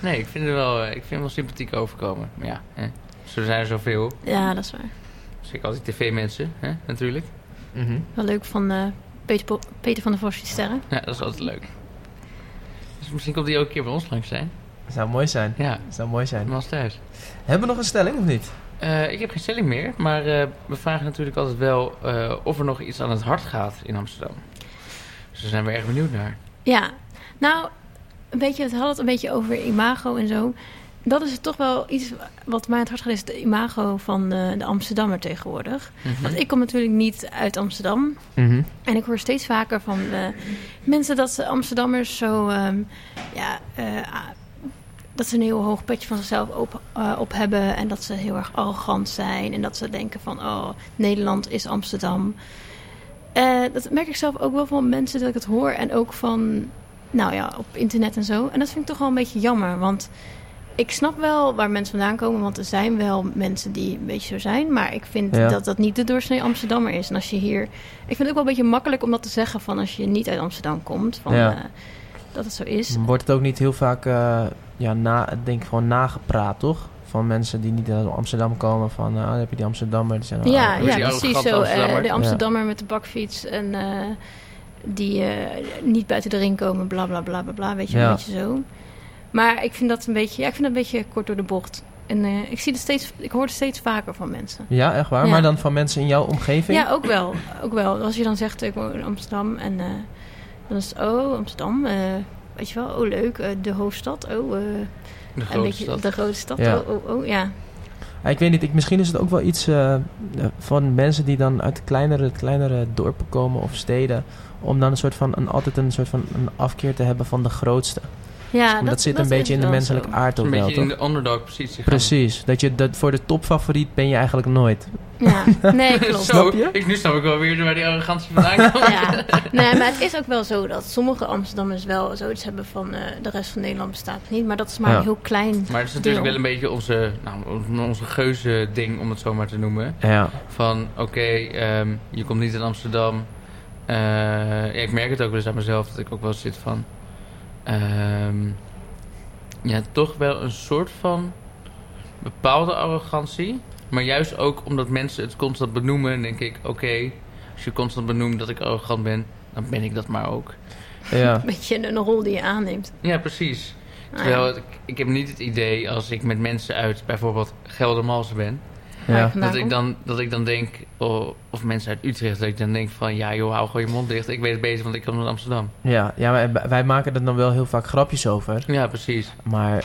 S3: Nee, ik vind hem wel, eh, ik vind hem wel sympathiek overkomen. Maar ja, hè. zo zijn er zoveel.
S4: Ja, dat is waar.
S3: Zeker al die tv-mensen, hè, natuurlijk.
S4: Wel leuk van eh, Peter, Po- Peter van der Vos die sterren.
S3: Ja, dat is altijd leuk. Dus misschien komt hij ook een keer bij ons langs zijn.
S1: Zou mooi zijn.
S3: Ja,
S1: Zou mooi zijn.
S4: Nou.
S3: was thuis.
S1: Hebben we nog een stelling of niet?
S3: Eh, ik heb geen stelling meer, maar eh, we vragen natuurlijk altijd wel eh, of er nog iets aan het hart gaat in Amsterdam. Dus daar zijn we erg benieuwd naar.
S4: Ja, nou, een beetje, het had het een beetje over imago en zo. Dat is toch wel iets wat mij het hart gaat, is de imago van eh, de Amsterdammer tegenwoordig. Want ik kom natuurlijk niet uit Amsterdam.
S1: Mhm.
S4: En ik hoor steeds vaker van eh, mensen dat ze Amsterdammers zo. ehm, ja, eh, a- dat ze een heel hoog petje van zichzelf op, eh, op hebben. En dat ze heel erg arrogant zijn. En dat ze denken van, oh, Nederland is Amsterdam. Eh, dat merk ik zelf ook wel van mensen dat ik het hoor. En ook van, nou ja, op internet en zo. En dat vind ik toch wel een beetje jammer. Want ik snap wel waar mensen vandaan komen. Want er zijn wel mensen die een beetje zo zijn. Maar ik vind
S1: Ja.
S4: dat dat niet de doorsnee Amsterdammer is. En als je hier... Ik vind het ook wel een beetje makkelijk om dat te zeggen... van als je niet uit Amsterdam komt. Van,
S1: Ja.
S4: eh, dat het zo is.
S1: Wordt het ook niet heel vaak, eh, ja, na, ik denk gewoon nagepraat, toch? Van mensen die niet uit Amsterdam komen, van, ah, dan heb je die Amsterdammer, die zijn Ah, al-
S4: Ja,
S3: Hoe is
S4: ja
S3: die
S4: precies
S3: arrogante
S4: zo. eh,
S3: Amsterdammer?
S4: de Amsterdammer met de bakfiets en eh, die eh, niet buiten de ring komen, bla bla bla bla bla. Weet je,
S1: Ja.
S4: een beetje zo. Maar ik vind dat een beetje, ja, ik vind dat een beetje kort door de bocht. En eh, ik zie het steeds, ik hoor het steeds vaker van mensen.
S1: Ja, echt waar?
S4: Ja.
S1: Maar dan van mensen in jouw omgeving?
S4: Ja, ook wel, ook wel. Als je dan zegt, ik woon in Amsterdam en eh, dan is het, oh, Amsterdam, eh, weet je wel, oh leuk, eh, de hoofdstad, oh, eh,
S3: De
S4: een
S3: grote
S4: beetje
S3: stad.
S4: de grote stad,
S1: Ja.
S4: oh, oh, oh, ja.
S1: Ja, ik weet niet, ik, misschien is het ook wel iets eh, eh, van mensen die dan uit kleinere, kleinere dorpen komen of steden. Om dan een soort van, een, altijd een soort van een afkeer te hebben van de grootste.
S4: ja
S1: dat, zit een
S4: is
S1: beetje in de
S4: wel
S1: menselijke
S4: zo.
S1: aard ook
S3: Een
S1: wel,
S3: beetje in
S1: toch?
S3: de underdog-positie gaan.
S1: Precies, dat je dat voor de topfavoriet ben je eigenlijk nooit.
S4: Ja, nee, klopt.
S3: Zo,
S1: Snap je?
S3: Ik, nu snap ik wel weer waar die arrogantie vandaan komt.
S4: Ja, nee, maar het is ook wel zo dat sommige Amsterdammers wel zoiets hebben van eh, de rest van Nederland bestaat niet. Maar dat is maar
S1: Ja.
S4: een heel klein.
S3: Maar het is natuurlijk
S4: deel.
S3: wel een beetje onze, nou, onze geuze ding, om het zo maar te noemen.
S1: Ja,
S3: Van, oké, ehm, je komt niet in Amsterdam. Eh, ja, ik merk het ook wel eens aan mezelf, dat ik ook wel zit van... ehm, ja, toch wel een soort van bepaalde arrogantie. Maar juist ook omdat mensen het constant benoemen, denk ik... Oké, als je constant benoemt dat ik arrogant ben, dan ben ik dat maar ook.
S1: ja.
S4: Een beetje een rol die je aanneemt.
S3: Ja, precies.
S4: Ah,
S3: Terwijl
S4: ja.
S3: het- ik heb niet het idee als ik met mensen uit bijvoorbeeld Geldermalsen ben...
S4: Waar
S1: ja.
S4: ik vandaan
S3: Dat ik,
S4: kom.
S3: dan, dat ik dan denk, oh, of mensen uit Utrecht, dat ik dan denk van... ja joh, hou gewoon je mond dicht, ik weet het beter, want ik kom uit Amsterdam.
S1: Ja, ja wij, wij maken er dan wel heel vaak grapjes over.
S3: Ja, precies.
S1: Maar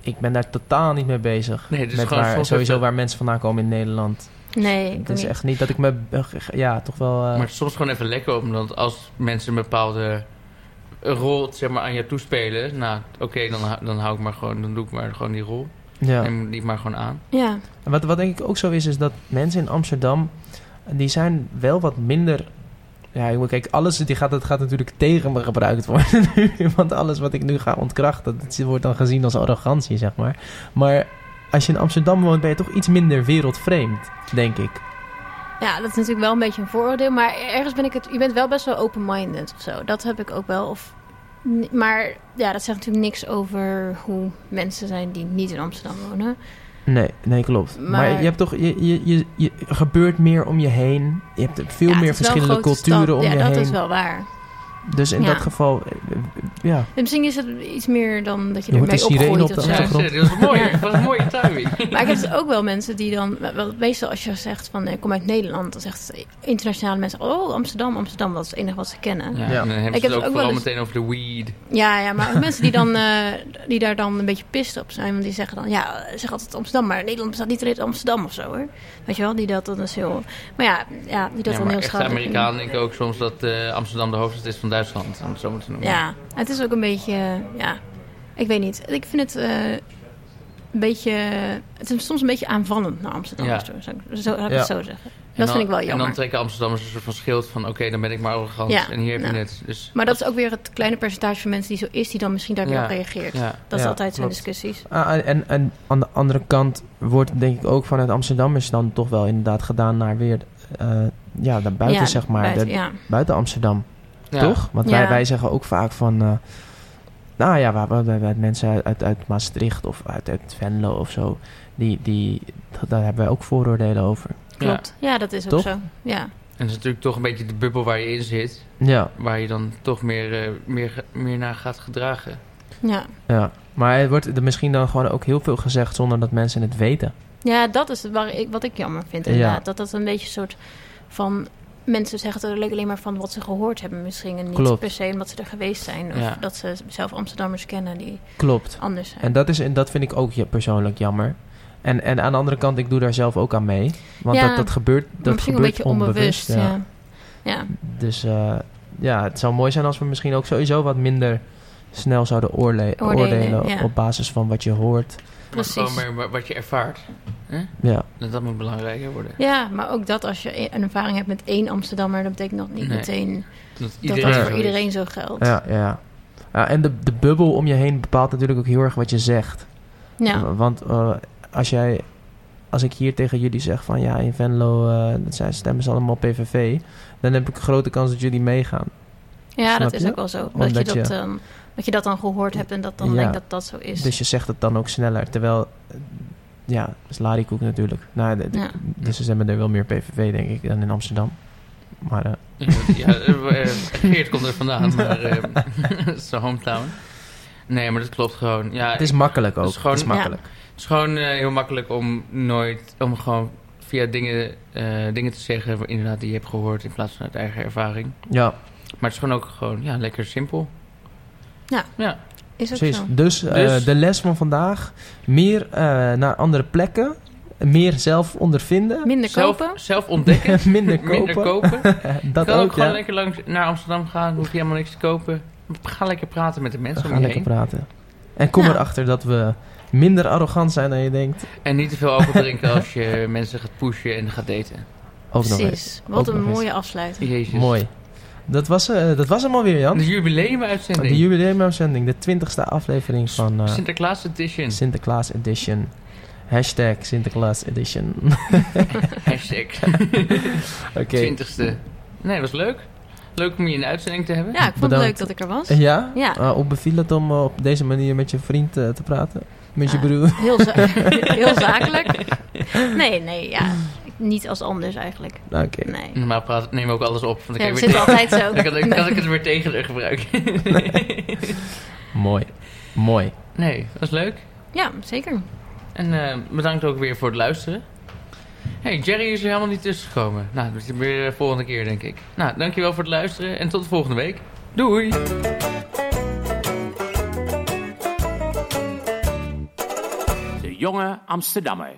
S1: ik ben daar totaal niet mee bezig.
S3: Nee, dus
S1: met
S3: gewoon
S1: waar,
S3: soms
S1: sowieso
S3: even-
S1: waar mensen vandaan komen in Nederland.
S4: Nee, ik
S1: Het
S4: ook
S1: is
S4: niet.
S1: echt niet dat ik me... Ja, toch wel... eh,
S3: Maar het is soms gewoon even lekker, omdat als mensen een bepaalde een rol zeg maar, aan je toespelen. Nou, oké, dan, hou- dan hou ik maar gewoon, dan doe ik maar gewoon die rol.
S1: Ja.
S3: Neem die maar gewoon aan.
S4: Ja,
S1: En Wat, wat denk ik ook zo is, is dat mensen in Amsterdam, die zijn wel wat minder... Ja, ik moet- kijk, alles die gaat, dat gaat natuurlijk tegen me gebruikt worden nu. Want alles wat ik nu ga ontkrachten, dat wordt dan gezien als arrogantie, zeg maar. Maar als je in Amsterdam woont, ben je toch iets minder wereldvreemd, denk ik.
S4: ja, dat is natuurlijk wel een beetje een vooroordeel. Maar ergens ben ik het... Je bent wel best wel open-minded of zo. Dat heb ik ook wel. Of, n- maar ja, dat zegt natuurlijk niks over hoe mensen zijn die niet in Amsterdam wonen.
S1: Nee, nee, klopt. Maar,
S4: Maar-
S1: je hebt toch, je, je, je, je- er gebeurt meer om je heen. Je hebt veel
S4: Ja, het
S1: meer
S4: is wel een
S1: verschillende
S4: grote
S1: culturen
S4: stad.
S1: om
S4: ja,
S1: je
S4: dat
S1: heen.
S4: is wel waar.
S1: Dus in
S4: Ja.
S1: dat geval, eh, eh, ja.
S4: En misschien is het iets meer dan dat je
S1: Je hoort
S4: ermee
S1: een sirene
S4: opgroeit
S1: op
S4: of
S1: de
S3: Ja,
S4: zo.
S1: achtergrond.
S3: dat was een mooie, dat was een mooie timing.
S4: Maar ik heb dus ook wel mensen die dan... Wel, meestal als je zegt van eh, ik kom uit Nederland... dan zegt internationale mensen... oh, Amsterdam, Amsterdam, dat is het enige wat ze kennen.
S3: Ja,
S1: Ja.
S3: En dan hebben ze
S4: Ik heb
S3: het ook,
S4: ook wel
S3: vooral
S4: eens-
S3: meteen over de weed.
S4: Ja, ja maar ook mensen die, dan, eh, die daar dan een beetje pist op zijn... want die zeggen dan, ja, zeg altijd Amsterdam... maar Nederland bestaat niet alleen uit Amsterdam of zo, hoor. Weet je wel, die dat dan is heel... Maar ja, ja die dat
S3: ja,
S4: dan
S3: maar
S4: heel
S3: echte
S4: schattig vinden.
S3: Amerikanen denken ook soms dat eh, Amsterdam de hoofdstad is van Duitsland. Om het zo maar te noemen.
S4: Ja, het is ook een beetje... eh, Ja, ik weet niet. Ik vind het eh, een beetje... Het is soms een beetje aanvallend naar Amsterdam.
S3: Ja.
S4: Zo, zou ik- zo laat ik
S1: Ja.
S4: het zo zeggen.
S3: En
S4: Dat
S3: dan-
S4: vind ik wel
S3: En dan
S4: jammer.
S3: trekken Amsterdammers een soort van schild van... oké, dan ben ik maar arrogant
S4: Ja,
S3: en hier heb
S4: nou.
S3: je het. Dus,
S4: Maar dat is ook weer het kleine percentage van mensen die zo is... die dan misschien daarop
S3: Ja.
S4: reageert.
S3: ja.
S4: Dat is
S1: Ja,
S4: altijd zijn
S1: klopt.
S4: discussies.
S1: Ah, en, en aan de andere kant wordt denk ik ook vanuit Amsterdam is dan toch wel inderdaad gedaan naar weer eh, ja, naar buiten,
S4: Ja,
S1: zeg maar.
S4: buiten,
S1: De-
S4: ja.
S1: buiten Amsterdam,
S3: Ja.
S1: toch? Want wij,
S4: Ja.
S1: wij zeggen ook vaak van. eh, nou ja, waar, waar, waar- waar mensen uit- uit, uit Maastricht of uit, uit Venlo of zo. Die, die, dat- daar hebben wij ook vooroordelen over.
S4: Klopt. Ja, dat is ook
S1: Toch?
S4: zo. Ja.
S3: En het is natuurlijk toch een beetje de bubbel waar je in zit...
S1: Ja,
S3: waar je dan toch meer, eh, meer, ge- meer naar gaat gedragen.
S4: Ja.
S1: ja. Maar er wordt er misschien dan gewoon ook heel veel gezegd zonder dat mensen het weten.
S4: ja, dat is het waar ik, wat ik jammer vind
S1: Ja.
S4: inderdaad. Dat dat een beetje een soort van... Mensen zeggen het eigenlijk alleen maar van wat ze gehoord hebben misschien... en niet
S1: Klopt.
S4: per se omdat ze er geweest zijn... of
S3: Ja.
S4: dat ze zelf Amsterdammers kennen die
S1: Klopt.
S4: anders zijn.
S1: En dat, is, en dat vind ik ook ja, persoonlijk jammer. En, en aan de andere kant, ik doe daar zelf ook aan mee. Want
S4: Ja,
S1: dat, dat gebeurt,
S4: Maar
S1: dat
S4: misschien
S1: gebeurt
S4: een beetje
S1: onbewust.
S4: onbewust,
S1: ja.
S4: ja. Ja.
S1: Dus eh, ja, het zou mooi zijn als we misschien ook sowieso wat minder snel zouden oorle-
S4: Oordelen,
S1: oordelen
S4: ja.
S1: op basis van wat je hoort.
S4: Precies.
S3: Maar gewoon meer wa- wat je ervaart.
S1: Ja,
S3: Dat, dat moet belangrijker worden.
S4: ja, maar ook dat als je een ervaring hebt met één Amsterdammer... dat betekent nog niet
S3: Nee.
S4: meteen
S3: Dat
S4: dat
S3: iedereen
S4: dat
S3: zo
S4: voor
S3: is.
S4: iedereen zo geldt.
S1: ja, ja. Ja, en de, de bubbel om je heen bepaalt natuurlijk ook heel erg wat je zegt.
S4: Ja.
S1: W- Want eh, als jij, als ik hier tegen jullie zeg van ja, in Venlo eh, dat zijn stemmen ze allemaal PVV, dan heb ik een grote kans dat jullie meegaan.
S4: Ja,
S1: Snap
S4: dat is
S1: je?
S4: ook wel zo. Dat je
S1: Omdat
S4: dat,
S1: je-
S4: dan, dat je dat dan gehoord hebt en dat dan
S1: Ja.
S4: denkt dat dat zo is.
S1: Dus je zegt het dan ook sneller. Terwijl, eh, ja, dat is Larikoek natuurlijk. Nou, de- de-
S4: Ja.
S1: Dus ze hebben er wel meer PVV, denk ik, dan in Amsterdam. Maar eh,
S3: Ja, eh, eh, Geert komt er vandaan, maar eh, het is zijn hometown. Nee, maar dat klopt gewoon. Ja,
S1: het is makkelijk ook.
S3: Het is gewoon-
S1: het is makkelijk.
S3: Het is gewoon eh, heel makkelijk om nooit, om gewoon via dingen, eh, dingen te zeggen wa- inderdaad die je hebt gehoord in plaats van uit eigen ervaring.
S1: Ja,
S3: Maar het is gewoon ook gewoon, ja, lekker simpel.
S4: Ja.
S3: Ja,
S4: is ook
S1: precies.
S4: zo.
S1: Dus, eh,
S3: Dus-
S1: de les van vandaag. Meer eh, naar andere plekken. Meer zelf ondervinden.
S4: Minder
S3: zelf,
S4: kopen.
S3: zelf ontdekken.
S1: Minder kopen.
S3: Minder kopen. Je
S1: eh, Dat
S3: kan ook
S1: ook,
S3: gewoon
S1: ja.
S3: lekker langs naar Amsterdam gaan, hoef je helemaal niks te kopen. Ga lekker praten met de
S1: We
S3: mensen om
S1: gaan
S3: je
S1: lekker
S3: heen.
S1: praten. En kom
S4: Nou.
S1: erachter dat we minder arrogant zijn dan je denkt.
S3: En niet te veel alcohol drinken als je mensen gaat pushen en gaat daten.
S1: Ook nog eens.
S4: Precies. Wat
S1: Ook
S4: een
S1: nog eens.
S4: mooie afsluiting.
S3: Jezus.
S1: Mooi. Dat was, eh, dat was hem alweer, Jan.
S3: De
S1: De
S3: jubileumuitzending.
S1: jubileumuitzending, de twintigste aflevering van eh,
S3: Sinterklaas edition.
S1: Sinterklaas Edition. Hashtag Sinterklaas Edition.
S3: Hashtag.
S1: Oké.
S3: 20ste. Nee, was leuk. Leuk om je in de uitzending te hebben.
S4: Ja, ik vond
S1: Bedankt.
S4: het leuk dat ik er was.
S1: Ja?
S4: Ja.
S1: Eh, hoe beviel het om eh, op deze manier met je vriend eh, te praten? Met je
S4: Ja.
S1: broer?
S4: Heel, za- heel zakelijk. Nee, nee, ja. Niet als anders eigenlijk.
S1: Oké.
S4: Nee.
S3: Normaal praat, neem ik ook alles op. Want Mm, ik
S4: Ja,
S3: heb
S4: we
S3: weer
S4: zitten altijd zo.
S3: dan kan, ik, kan
S4: Nee.
S3: ik het weer tegen haar gebruiken.
S1: Mooi. Mooi.
S3: Nee, was leuk.
S4: Ja, zeker.
S3: En eh, bedankt ook weer voor het luisteren. hey, Jerry is er helemaal niet tussen gekomen. Nou, dat is weer de volgende keer, denk ik. Nou, dankjewel voor het luisteren en tot volgende week. Doei!
S2: De Jonge Amsterdammer.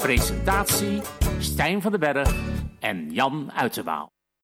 S2: Presentatie Stijn van den Berg en Jan Uiterwaal.